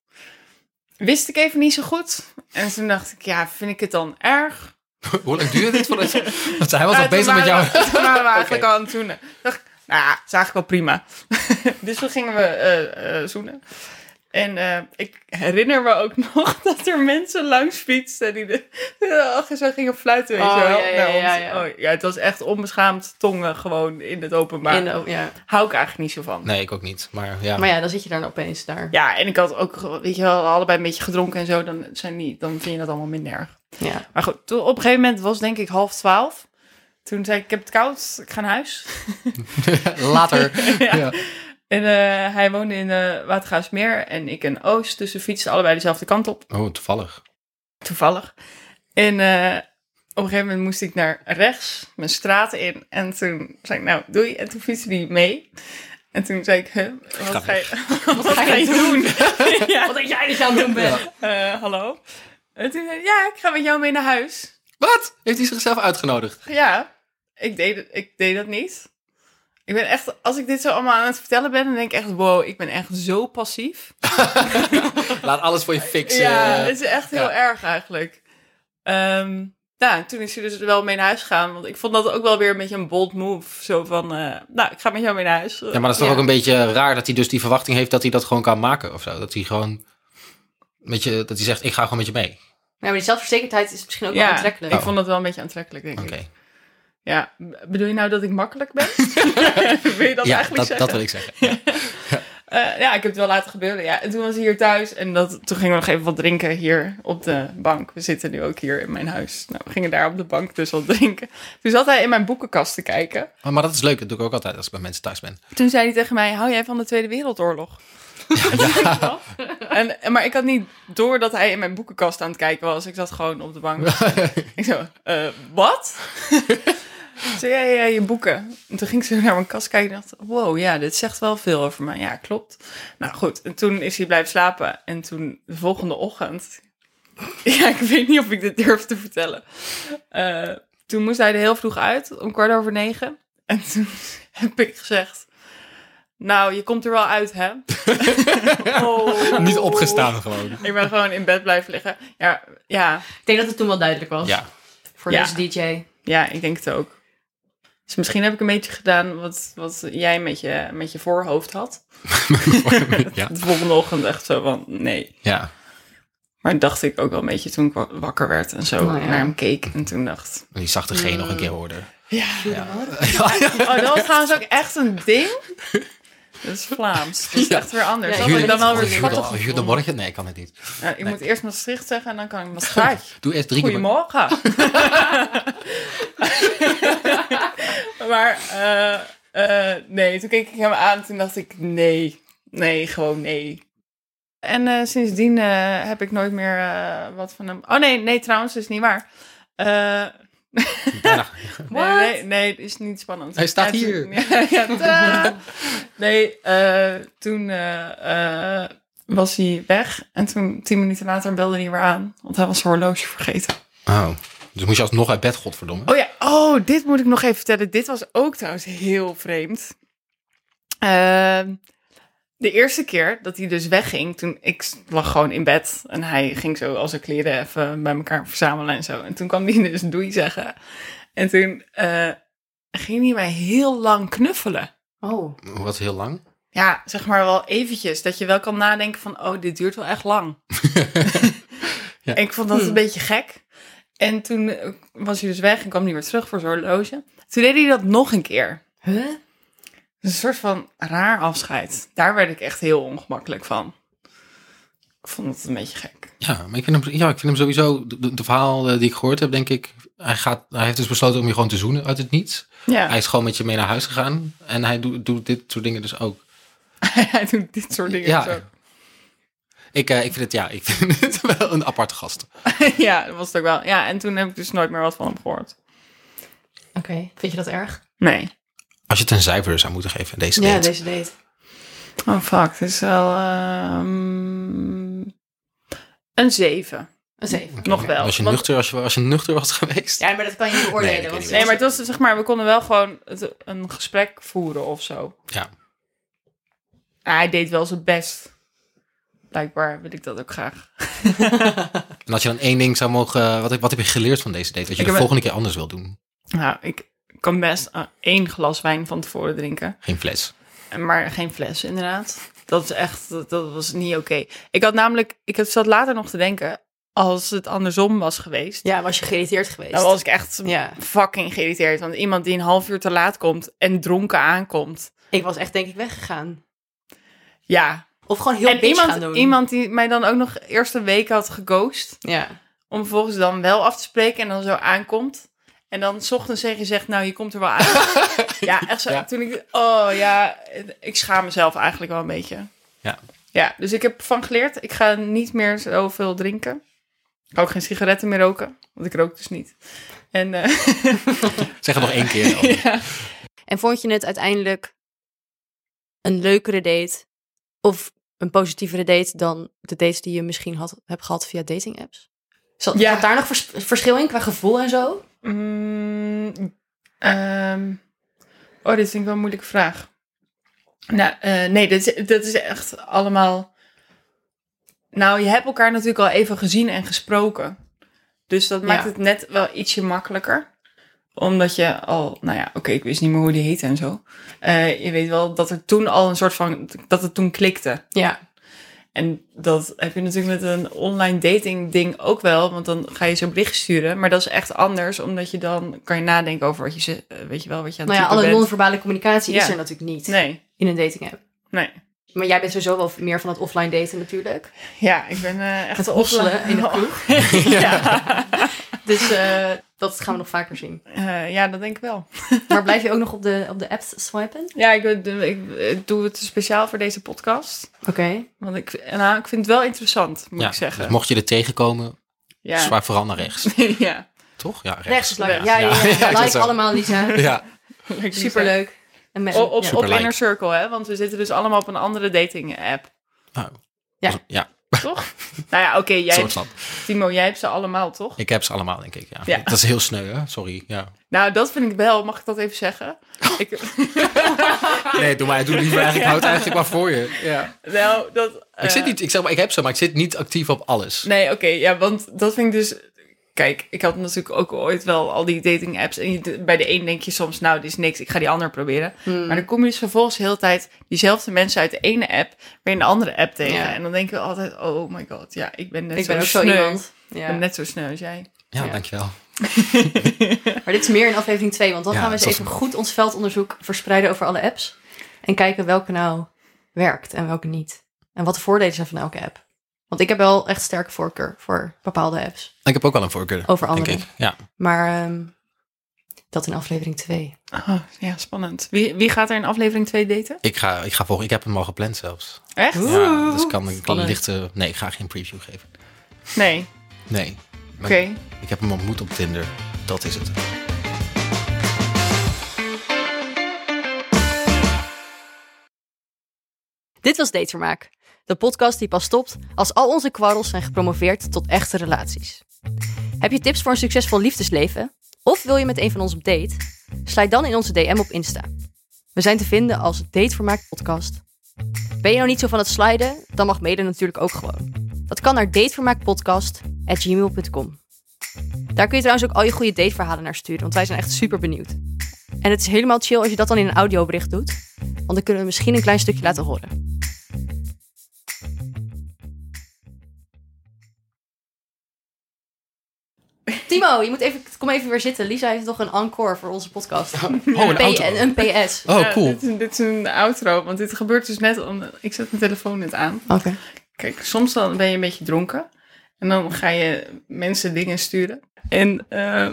[SPEAKER 4] Wist ik even niet zo goed. En toen dacht ik, ja, vind ik het dan erg?
[SPEAKER 1] Hoe lang duurde dit? voordat- Want hij was
[SPEAKER 4] Ja,
[SPEAKER 1] nog bezig met
[SPEAKER 4] toen
[SPEAKER 1] jou.
[SPEAKER 4] waren we- Toen waren we eigenlijk al aan het zoenen. Toen dacht ik, nou ja, is eigenlijk wel prima. dus toen gingen we eh, eh, zoenen. En eh, ik herinner me ook nog dat er mensen langs fietsten die de, ach, zo gingen fluiten, weet
[SPEAKER 2] Oh,
[SPEAKER 4] je wel.
[SPEAKER 2] ja, ja,
[SPEAKER 4] naar ons.
[SPEAKER 2] ja, ja.
[SPEAKER 4] Oh, ja, het was echt onbeschaamd tongen gewoon in het openbaar.
[SPEAKER 2] In de- ja.
[SPEAKER 4] Hou ik eigenlijk niet zo van.
[SPEAKER 1] Nee, ik ook niet. Maar ja.
[SPEAKER 2] Maar ja, dan zit je dan opeens daar.
[SPEAKER 4] Ja, en ik had ook, ge- weet je wel, allebei een beetje gedronken en zo. Dan, zijn die, dan vind je dat allemaal minder erg.
[SPEAKER 2] Ja.
[SPEAKER 4] Maar goed, toen, op een gegeven moment was het denk ik half twaalf. Toen zei ik, ik heb het koud, ik ga naar huis.
[SPEAKER 1] Later.
[SPEAKER 4] Ja.
[SPEAKER 1] Ja.
[SPEAKER 4] En eh, hij woonde in eh Watergaasmeer en ik in Oost. Dus we fietsten allebei dezelfde kant op,
[SPEAKER 1] Oh, toevallig.
[SPEAKER 4] toevallig. En eh, op een gegeven moment moest ik naar rechts, mijn straat in. En toen zei ik, nou, doei. En toen fietste die mee. En toen zei ik, huh, wat, ga je, wat ga je doen? ja.
[SPEAKER 2] Wat denk jij dat je aan het doen bent?
[SPEAKER 4] Eh, hallo. En toen zei ik, ja, ik ga met jou mee naar huis.
[SPEAKER 1] Wat? Heeft hij zichzelf uitgenodigd?
[SPEAKER 4] Ja, ik deed, het- ik deed dat niet. Ik ben echt, als ik dit zo allemaal aan het vertellen ben, dan denk ik echt, wow, ik ben echt zo passief.
[SPEAKER 1] Laat alles voor je fixen.
[SPEAKER 4] Ja, het is echt heel
[SPEAKER 1] eh, ja.
[SPEAKER 4] erg eigenlijk. Ehm nou, toen is hij dus wel mee naar huis gegaan. Want ik vond dat ook wel weer een beetje een bold move. Zo van, eh, nou, ik ga met jou mee naar huis.
[SPEAKER 1] Ja, maar dat is toch
[SPEAKER 4] Ja.
[SPEAKER 1] ook een beetje raar dat hij dus die verwachting heeft dat hij dat gewoon kan maken of zo. Dat hij gewoon met je, dat hij zegt, ik ga gewoon met je mee.
[SPEAKER 2] Ja, maar die zelfverzekerdheid is misschien ook wel
[SPEAKER 4] Ja,
[SPEAKER 2] aantrekkelijk.
[SPEAKER 4] ik vond dat wel een beetje aantrekkelijk, denk
[SPEAKER 1] Oké.
[SPEAKER 4] ik. Ja, b- bedoel je nou dat ik makkelijk ben? wil je dat
[SPEAKER 1] Ja, dat,
[SPEAKER 4] eigenlijk zeggen?
[SPEAKER 1] dat wil ik zeggen. Ja.
[SPEAKER 4] Eh, ja, ik heb het wel laten gebeuren. Ja. En toen was hij hier thuis en dat, toen gingen we nog even wat drinken hier op de bank. We zitten nu ook hier in mijn huis. Nou, we gingen daar op de bank dus wat drinken. Toen zat hij in mijn boekenkast te kijken.
[SPEAKER 1] Maar, maar dat is leuk, dat doe ik ook altijd als ik bij mensen thuis ben.
[SPEAKER 4] Toen zei hij tegen mij, hou jij van de Tweede Wereldoorlog? En, en- maar ik had niet door dat hij in mijn boekenkast aan het kijken was. Ik zat gewoon op de bank. ik zo, eh, wat? Zo, ja, ja, ja, je boeken. En toen ging ze naar mijn kast kijken en dacht, wow, ja, dit zegt wel veel over mij. Ja, klopt. Nou goed, en toen is hij blijven slapen. En toen de volgende ochtend, ja, ik weet niet of ik dit durf te vertellen. Eh, toen moest hij er heel vroeg uit, om kwart over negen. En toen heb ik gezegd, nou, je komt er wel uit, hè? oh.
[SPEAKER 1] Nou, Niet opgestaan gewoon.
[SPEAKER 4] Ik ben gewoon in bed blijven liggen. Ja, ja,
[SPEAKER 2] Ik denk dat het toen wel duidelijk was.
[SPEAKER 1] Ja.
[SPEAKER 2] Voor
[SPEAKER 4] Ja.
[SPEAKER 2] deze DJ.
[SPEAKER 4] ja ik denk het ook. Dus misschien heb ik een beetje gedaan wat, wat jij met je, met je voorhoofd had.
[SPEAKER 1] ja.
[SPEAKER 4] De volgende ochtend echt zo van, nee.
[SPEAKER 1] ja.
[SPEAKER 4] Maar dacht ik ook wel een beetje toen ik wa- wakker werd en zo
[SPEAKER 2] Nou ja.
[SPEAKER 4] naar hem keek. En toen dacht
[SPEAKER 1] En Die zachte G nog een keer
[SPEAKER 4] Mm.
[SPEAKER 1] hoorde.
[SPEAKER 4] Oh, dat was trouwens ook echt een ding. Dat is Vlaams. Dat is
[SPEAKER 1] Ja.
[SPEAKER 4] echt weer
[SPEAKER 2] Ja,
[SPEAKER 4] anders. Dat had ik dan
[SPEAKER 2] Jude-
[SPEAKER 4] alweer
[SPEAKER 2] Jude-
[SPEAKER 1] Goedemorgen.
[SPEAKER 4] schattig gevonden.
[SPEAKER 1] Goedemorgen? Nee, ik kan het niet.
[SPEAKER 4] Ja, ik moet eerst Maastricht zeggen en dan kan ik Maastricht.
[SPEAKER 1] Doe eerst drie keer.
[SPEAKER 4] Goedemorgen. maar eh, eh, nee, toen keek ik hem aan en toen dacht ik nee, nee, gewoon nee. En eh, sindsdien eh, heb ik nooit meer eh, wat van hem... Oh nee, nee, trouwens, dat is niet waar. Eh,
[SPEAKER 1] Bijna.
[SPEAKER 4] nee, nee, nee, het is niet spannend.
[SPEAKER 1] Hij staat
[SPEAKER 4] En toen-
[SPEAKER 1] hier.
[SPEAKER 4] Ja, ja, tadaa. nee, eh, toen eh, eh, was hij weg en toen tien minuten later belde hij weer aan, want hij was zijn horloge vergeten.
[SPEAKER 1] Oh. Dus moest je alsnog uit bed, godverdomme.
[SPEAKER 4] Oh ja, oh, dit moet ik nog even vertellen. Dit was ook trouwens heel vreemd. Ehm, de eerste keer dat hij dus wegging, toen ik lag gewoon in bed en hij ging zo al zijn kleren even bij elkaar verzamelen en zo. En toen kwam hij dus doei zeggen. En toen eh, ging hij mij heel lang knuffelen.
[SPEAKER 2] Oh.
[SPEAKER 1] Wat heel lang.
[SPEAKER 4] Ja, zeg maar wel eventjes. Dat je wel kan nadenken van, oh, dit duurt wel echt lang.
[SPEAKER 1] Ja.
[SPEAKER 4] En ik vond dat
[SPEAKER 2] Hmm.
[SPEAKER 4] een beetje gek. En toen eh, was hij dus weg en kwam niet weer terug voor zijn horloge. Toen deed hij dat nog een keer. Dus
[SPEAKER 2] Huh?
[SPEAKER 4] Een soort van raar afscheid. Daar werd ik echt heel ongemakkelijk van. Ik vond het een beetje gek.
[SPEAKER 1] Ja, maar ik vind hem, ja, ik vind hem sowieso, de, de- de verhaal eh, die ik gehoord heb, denk ik, hij, gaat, hij heeft dus besloten om je gewoon te zoenen uit het niets. Hij
[SPEAKER 4] Ja,
[SPEAKER 1] is gewoon met je mee naar huis gegaan en hij doet doet dit soort dingen dus ook.
[SPEAKER 4] hij doet dit soort dingen
[SPEAKER 1] Ja.
[SPEAKER 4] zo.
[SPEAKER 1] Ik, eh, ik, vind het, ja, ik vind het wel een aparte gast.
[SPEAKER 4] ja, dat was het ook wel. Ja, en toen heb ik dus nooit meer wat van hem gehoord.
[SPEAKER 2] Oké. Vind je dat erg?
[SPEAKER 4] Nee.
[SPEAKER 1] Als je het een cijfer zou moeten geven, deze
[SPEAKER 2] Ja,
[SPEAKER 1] date.
[SPEAKER 2] deze date.
[SPEAKER 4] Oh fuck, het is wel... ehm, een zeven.
[SPEAKER 2] Een zeven.
[SPEAKER 4] Nog wel.
[SPEAKER 1] Als je,
[SPEAKER 4] Want-
[SPEAKER 1] nuchter, als, je, als je nuchter was geweest.
[SPEAKER 2] Ja, maar dat kan je niet
[SPEAKER 1] Nee,
[SPEAKER 2] beoordelen.
[SPEAKER 1] dat kan
[SPEAKER 2] want
[SPEAKER 1] je
[SPEAKER 4] Nee, maar het was zeg maar, we konden wel gewoon het- een gesprek voeren of zo.
[SPEAKER 1] Ja.
[SPEAKER 4] Ah, hij deed wel zijn best. Blijkbaar wil ik dat ook graag.
[SPEAKER 1] En als je dan één ding zou mogen, wat, heb- wat heb je geleerd van deze date? Dat je
[SPEAKER 4] Ik
[SPEAKER 1] de
[SPEAKER 4] heb-
[SPEAKER 1] volgende keer anders wil doen.
[SPEAKER 4] Nou, ik kan best eh, één glas wijn van tevoren drinken.
[SPEAKER 1] Geen fles.
[SPEAKER 4] Maar geen fles, inderdaad. Dat is echt, dat, dat was niet oké. Ik had namelijk, ik heb- zat later nog te denken, als het andersom was geweest,
[SPEAKER 2] Ja, was je geïrriteerd geweest?
[SPEAKER 4] dan was ik echt
[SPEAKER 2] Ja.
[SPEAKER 4] fucking geïrriteerd. Want iemand die een half uur te laat komt en dronken aankomt.
[SPEAKER 2] Ik was echt denk ik weggegaan.
[SPEAKER 4] Ja,
[SPEAKER 2] Of gewoon heel
[SPEAKER 4] en
[SPEAKER 2] bitch
[SPEAKER 4] iemand,
[SPEAKER 2] gaan doen.
[SPEAKER 4] iemand die mij dan ook nog eerst een week had geghost.
[SPEAKER 2] Ja.
[SPEAKER 4] Om vervolgens dan wel af te spreken en dan zo aankomt. En dan 's ochtends tegen je zegt, nou, je komt er wel uit. ja, echt zo.
[SPEAKER 1] Ja.
[SPEAKER 4] Toen ik, oh ja, ik schaam mezelf eigenlijk wel een beetje.
[SPEAKER 1] Ja.
[SPEAKER 4] Ja, dus ik heb van geleerd, ik ga niet meer zoveel drinken. Ik ga ook geen sigaretten meer roken, want ik rook dus niet. En eh,
[SPEAKER 1] Zeg het nog één keer. Elke.
[SPEAKER 4] ja.
[SPEAKER 2] En vond je het uiteindelijk een leukere date of een positievere date dan de dates die je misschien had, hebt gehad via dating apps? Zat,
[SPEAKER 4] Ja.
[SPEAKER 2] zat daar nog vers- verschil in qua gevoel en zo?
[SPEAKER 4] Mm, ehm, oh, dit vind ik wel een moeilijke vraag. Nou, eh, nee, dat is, dat is echt allemaal. Nou, je hebt elkaar natuurlijk al even gezien en gesproken. Dus dat maakt het net wel ietsje makkelijker. Omdat je al, nou ja, oké, ik wist niet meer hoe die heette en zo. Eh, je weet wel dat er toen al een soort van, dat het toen klikte.
[SPEAKER 2] Nou Ja.
[SPEAKER 4] En dat heb je natuurlijk met een online dating ding ook wel, want dan ga je zo'n bericht sturen. Maar dat is echt anders, omdat je dan kan je nadenken over wat je, ze- eh, weet je wel, wat je aan het
[SPEAKER 2] Nou ja,
[SPEAKER 4] typen
[SPEAKER 2] alle
[SPEAKER 4] bent.
[SPEAKER 2] non-verbale communicatie is
[SPEAKER 4] Ja.
[SPEAKER 2] er natuurlijk niet
[SPEAKER 4] Nee,
[SPEAKER 2] in een dating app.
[SPEAKER 4] nee.
[SPEAKER 2] Maar jij bent sowieso wel meer van het offline daten natuurlijk.
[SPEAKER 4] Ja, ik ben eh, echt
[SPEAKER 2] Het
[SPEAKER 4] een
[SPEAKER 2] hosselen
[SPEAKER 4] offline-
[SPEAKER 2] in de kroeg.
[SPEAKER 4] ja.
[SPEAKER 2] Dus eh, dat gaan we nog vaker zien.
[SPEAKER 4] Eh, ja, dat denk ik wel.
[SPEAKER 2] Maar blijf je ook nog op de, op de apps swipen?
[SPEAKER 4] Ja, ik, ik, ik eh, doe het speciaal voor deze podcast.
[SPEAKER 2] Oké.
[SPEAKER 4] Want ik, nou, ik vind het wel interessant, moet
[SPEAKER 1] Ja,
[SPEAKER 4] ik zeggen.
[SPEAKER 1] dus mocht je er tegenkomen,
[SPEAKER 4] ja.
[SPEAKER 1] zwaar vooral naar rechts.
[SPEAKER 4] ja.
[SPEAKER 1] Toch? Ja, rechts.
[SPEAKER 2] Rechts is leuk.
[SPEAKER 4] rechts.
[SPEAKER 2] Ja, ja, ja.
[SPEAKER 1] Ja, ik zat
[SPEAKER 2] Like
[SPEAKER 1] zo.
[SPEAKER 2] allemaal, Lisa.
[SPEAKER 1] Ja,
[SPEAKER 2] Superleuk. En met,
[SPEAKER 4] O- Op, op,
[SPEAKER 2] ja.
[SPEAKER 1] Superlike.
[SPEAKER 4] Inner Circle, hè? Want we zitten dus allemaal op een andere dating app,
[SPEAKER 1] nou,
[SPEAKER 2] Ja.
[SPEAKER 1] ja. ja
[SPEAKER 4] toch? nou ja, oké, jij
[SPEAKER 1] soort van.
[SPEAKER 4] Timo, jij hebt ze allemaal, toch?
[SPEAKER 1] Ik heb ze allemaal, denk ik. Ja.
[SPEAKER 4] Ja.
[SPEAKER 1] Dat is heel sneu, hè? Sorry. Ja.
[SPEAKER 4] Nou, dat vind ik wel. Mag ik dat even zeggen? Ik,
[SPEAKER 1] Nee, doe maar. Doe liever eigenlijk. Houd eigenlijk maar voor je. Ja.
[SPEAKER 4] nou, dat... eh,
[SPEAKER 1] Ik, zit niet, ik, zeg maar, ik heb ze, maar ik zit niet actief op alles.
[SPEAKER 4] Nee, oké. ja, want dat vind ik dus... Kijk, ik had natuurlijk ook ooit wel al die dating apps. En je- bij de een denk je soms, nou, dit is niks. Ik ga die ander proberen. Maar dan kom je dus vervolgens de hele tijd diezelfde mensen uit de ene app... weer in de andere app tegen.
[SPEAKER 2] Ja.
[SPEAKER 4] En dan denk je altijd, oh my god. Ja, ik ben net
[SPEAKER 2] Ik
[SPEAKER 4] zo
[SPEAKER 2] ben ook zo
[SPEAKER 4] sneu.
[SPEAKER 2] iemand.
[SPEAKER 4] Ik
[SPEAKER 2] Ja.
[SPEAKER 4] ben net zo sneu als jij.
[SPEAKER 1] Ja,
[SPEAKER 2] Ja.
[SPEAKER 1] dankjewel.
[SPEAKER 2] Maar dit is meer in aflevering 2, want dan
[SPEAKER 1] Ja,
[SPEAKER 2] gaan we eens
[SPEAKER 1] dat
[SPEAKER 2] even
[SPEAKER 1] is-
[SPEAKER 2] goed ons veldonderzoek verspreiden over alle apps. En kijken welke nou werkt en welke niet. En wat de voordelen zijn van elke app. Want ik heb wel echt sterke voorkeur voor bepaalde apps
[SPEAKER 1] Ik heb ook wel een voorkeur.
[SPEAKER 2] over
[SPEAKER 1] Denk
[SPEAKER 2] andere.
[SPEAKER 1] ik. Ja.
[SPEAKER 2] Maar ehm, dat in aflevering 2.
[SPEAKER 4] Oh, ja, spannend. Wie, wie gaat er in aflevering 2 daten?
[SPEAKER 1] Ik ga, ik ga volgen. Ik heb hem al gepland zelfs.
[SPEAKER 4] Echt?
[SPEAKER 1] Ja, dus kan ik een
[SPEAKER 2] Spannend.
[SPEAKER 1] lichte. Nee, ik ga geen preview geven.
[SPEAKER 4] Nee.
[SPEAKER 1] Nee.
[SPEAKER 4] Oké.
[SPEAKER 1] Ik heb hem ontmoet op Tinder. Dat is het. Oh,
[SPEAKER 2] Dit was Datevermaak, de podcast die pas stopt als al onze kwarrels zijn gepromoveerd tot echte relaties. Heb je tips voor een succesvol liefdesleven? Of wil je met een van ons op date? Sluit dan in onze DM op Insta. We zijn te vinden als Datevermaak Podcast. Ben je nou niet zo van het sliden? Dan mag mede natuurlijk ook gewoon. Dat kan naar datevermaakpodcast.gmail.com Daar kun je trouwens ook al je goede dateverhalen naar sturen, want wij zijn echt super benieuwd. En het is helemaal chill als je dat dan in een audiobericht doet, want dan kunnen we misschien een klein stukje laten horen. Timo, je moet even, kom even weer zitten. Lisa heeft nog een encore voor onze podcast.
[SPEAKER 1] Oh, een
[SPEAKER 2] P-
[SPEAKER 1] auto.
[SPEAKER 2] een PS.
[SPEAKER 1] Oh,
[SPEAKER 4] Ja,
[SPEAKER 1] cool.
[SPEAKER 4] dit, is- dit is een outro, want dit gebeurt dus net. Om, ik zet mijn telefoon net aan.
[SPEAKER 2] Oké.
[SPEAKER 4] Kijk, soms dan ben je een beetje dronken. En dan ga je mensen dingen sturen. En eh,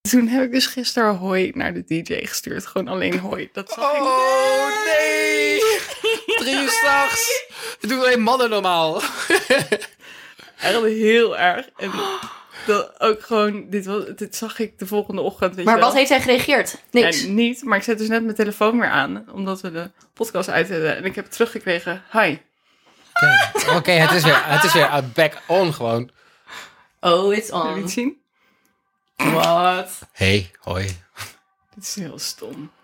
[SPEAKER 4] toen heb ik dus gisteren hoi naar de DJ gestuurd. Gewoon alleen hoi. Dat zag ik.
[SPEAKER 1] Oh nee! Drie uur s'nachts. Dat doen alleen mannen normaal.
[SPEAKER 4] Echt heel erg. En dat ook gewoon, dit, was, dit zag ik de volgende ochtend. Weet
[SPEAKER 2] Maar
[SPEAKER 4] je
[SPEAKER 2] wat
[SPEAKER 4] wel.
[SPEAKER 2] heeft hij gereageerd? Niks.
[SPEAKER 4] En niet, maar ik zet dus net mijn telefoon weer aan. Omdat we de podcast uit hadden. En ik heb teruggekregen, hi.
[SPEAKER 1] Oké, het is weer, het is weer uh, back on gewoon.
[SPEAKER 2] Oh, it's
[SPEAKER 4] Heb je
[SPEAKER 2] on.
[SPEAKER 4] het zien?
[SPEAKER 2] Wat?
[SPEAKER 1] Hey, hoi.
[SPEAKER 4] Dit is heel stom.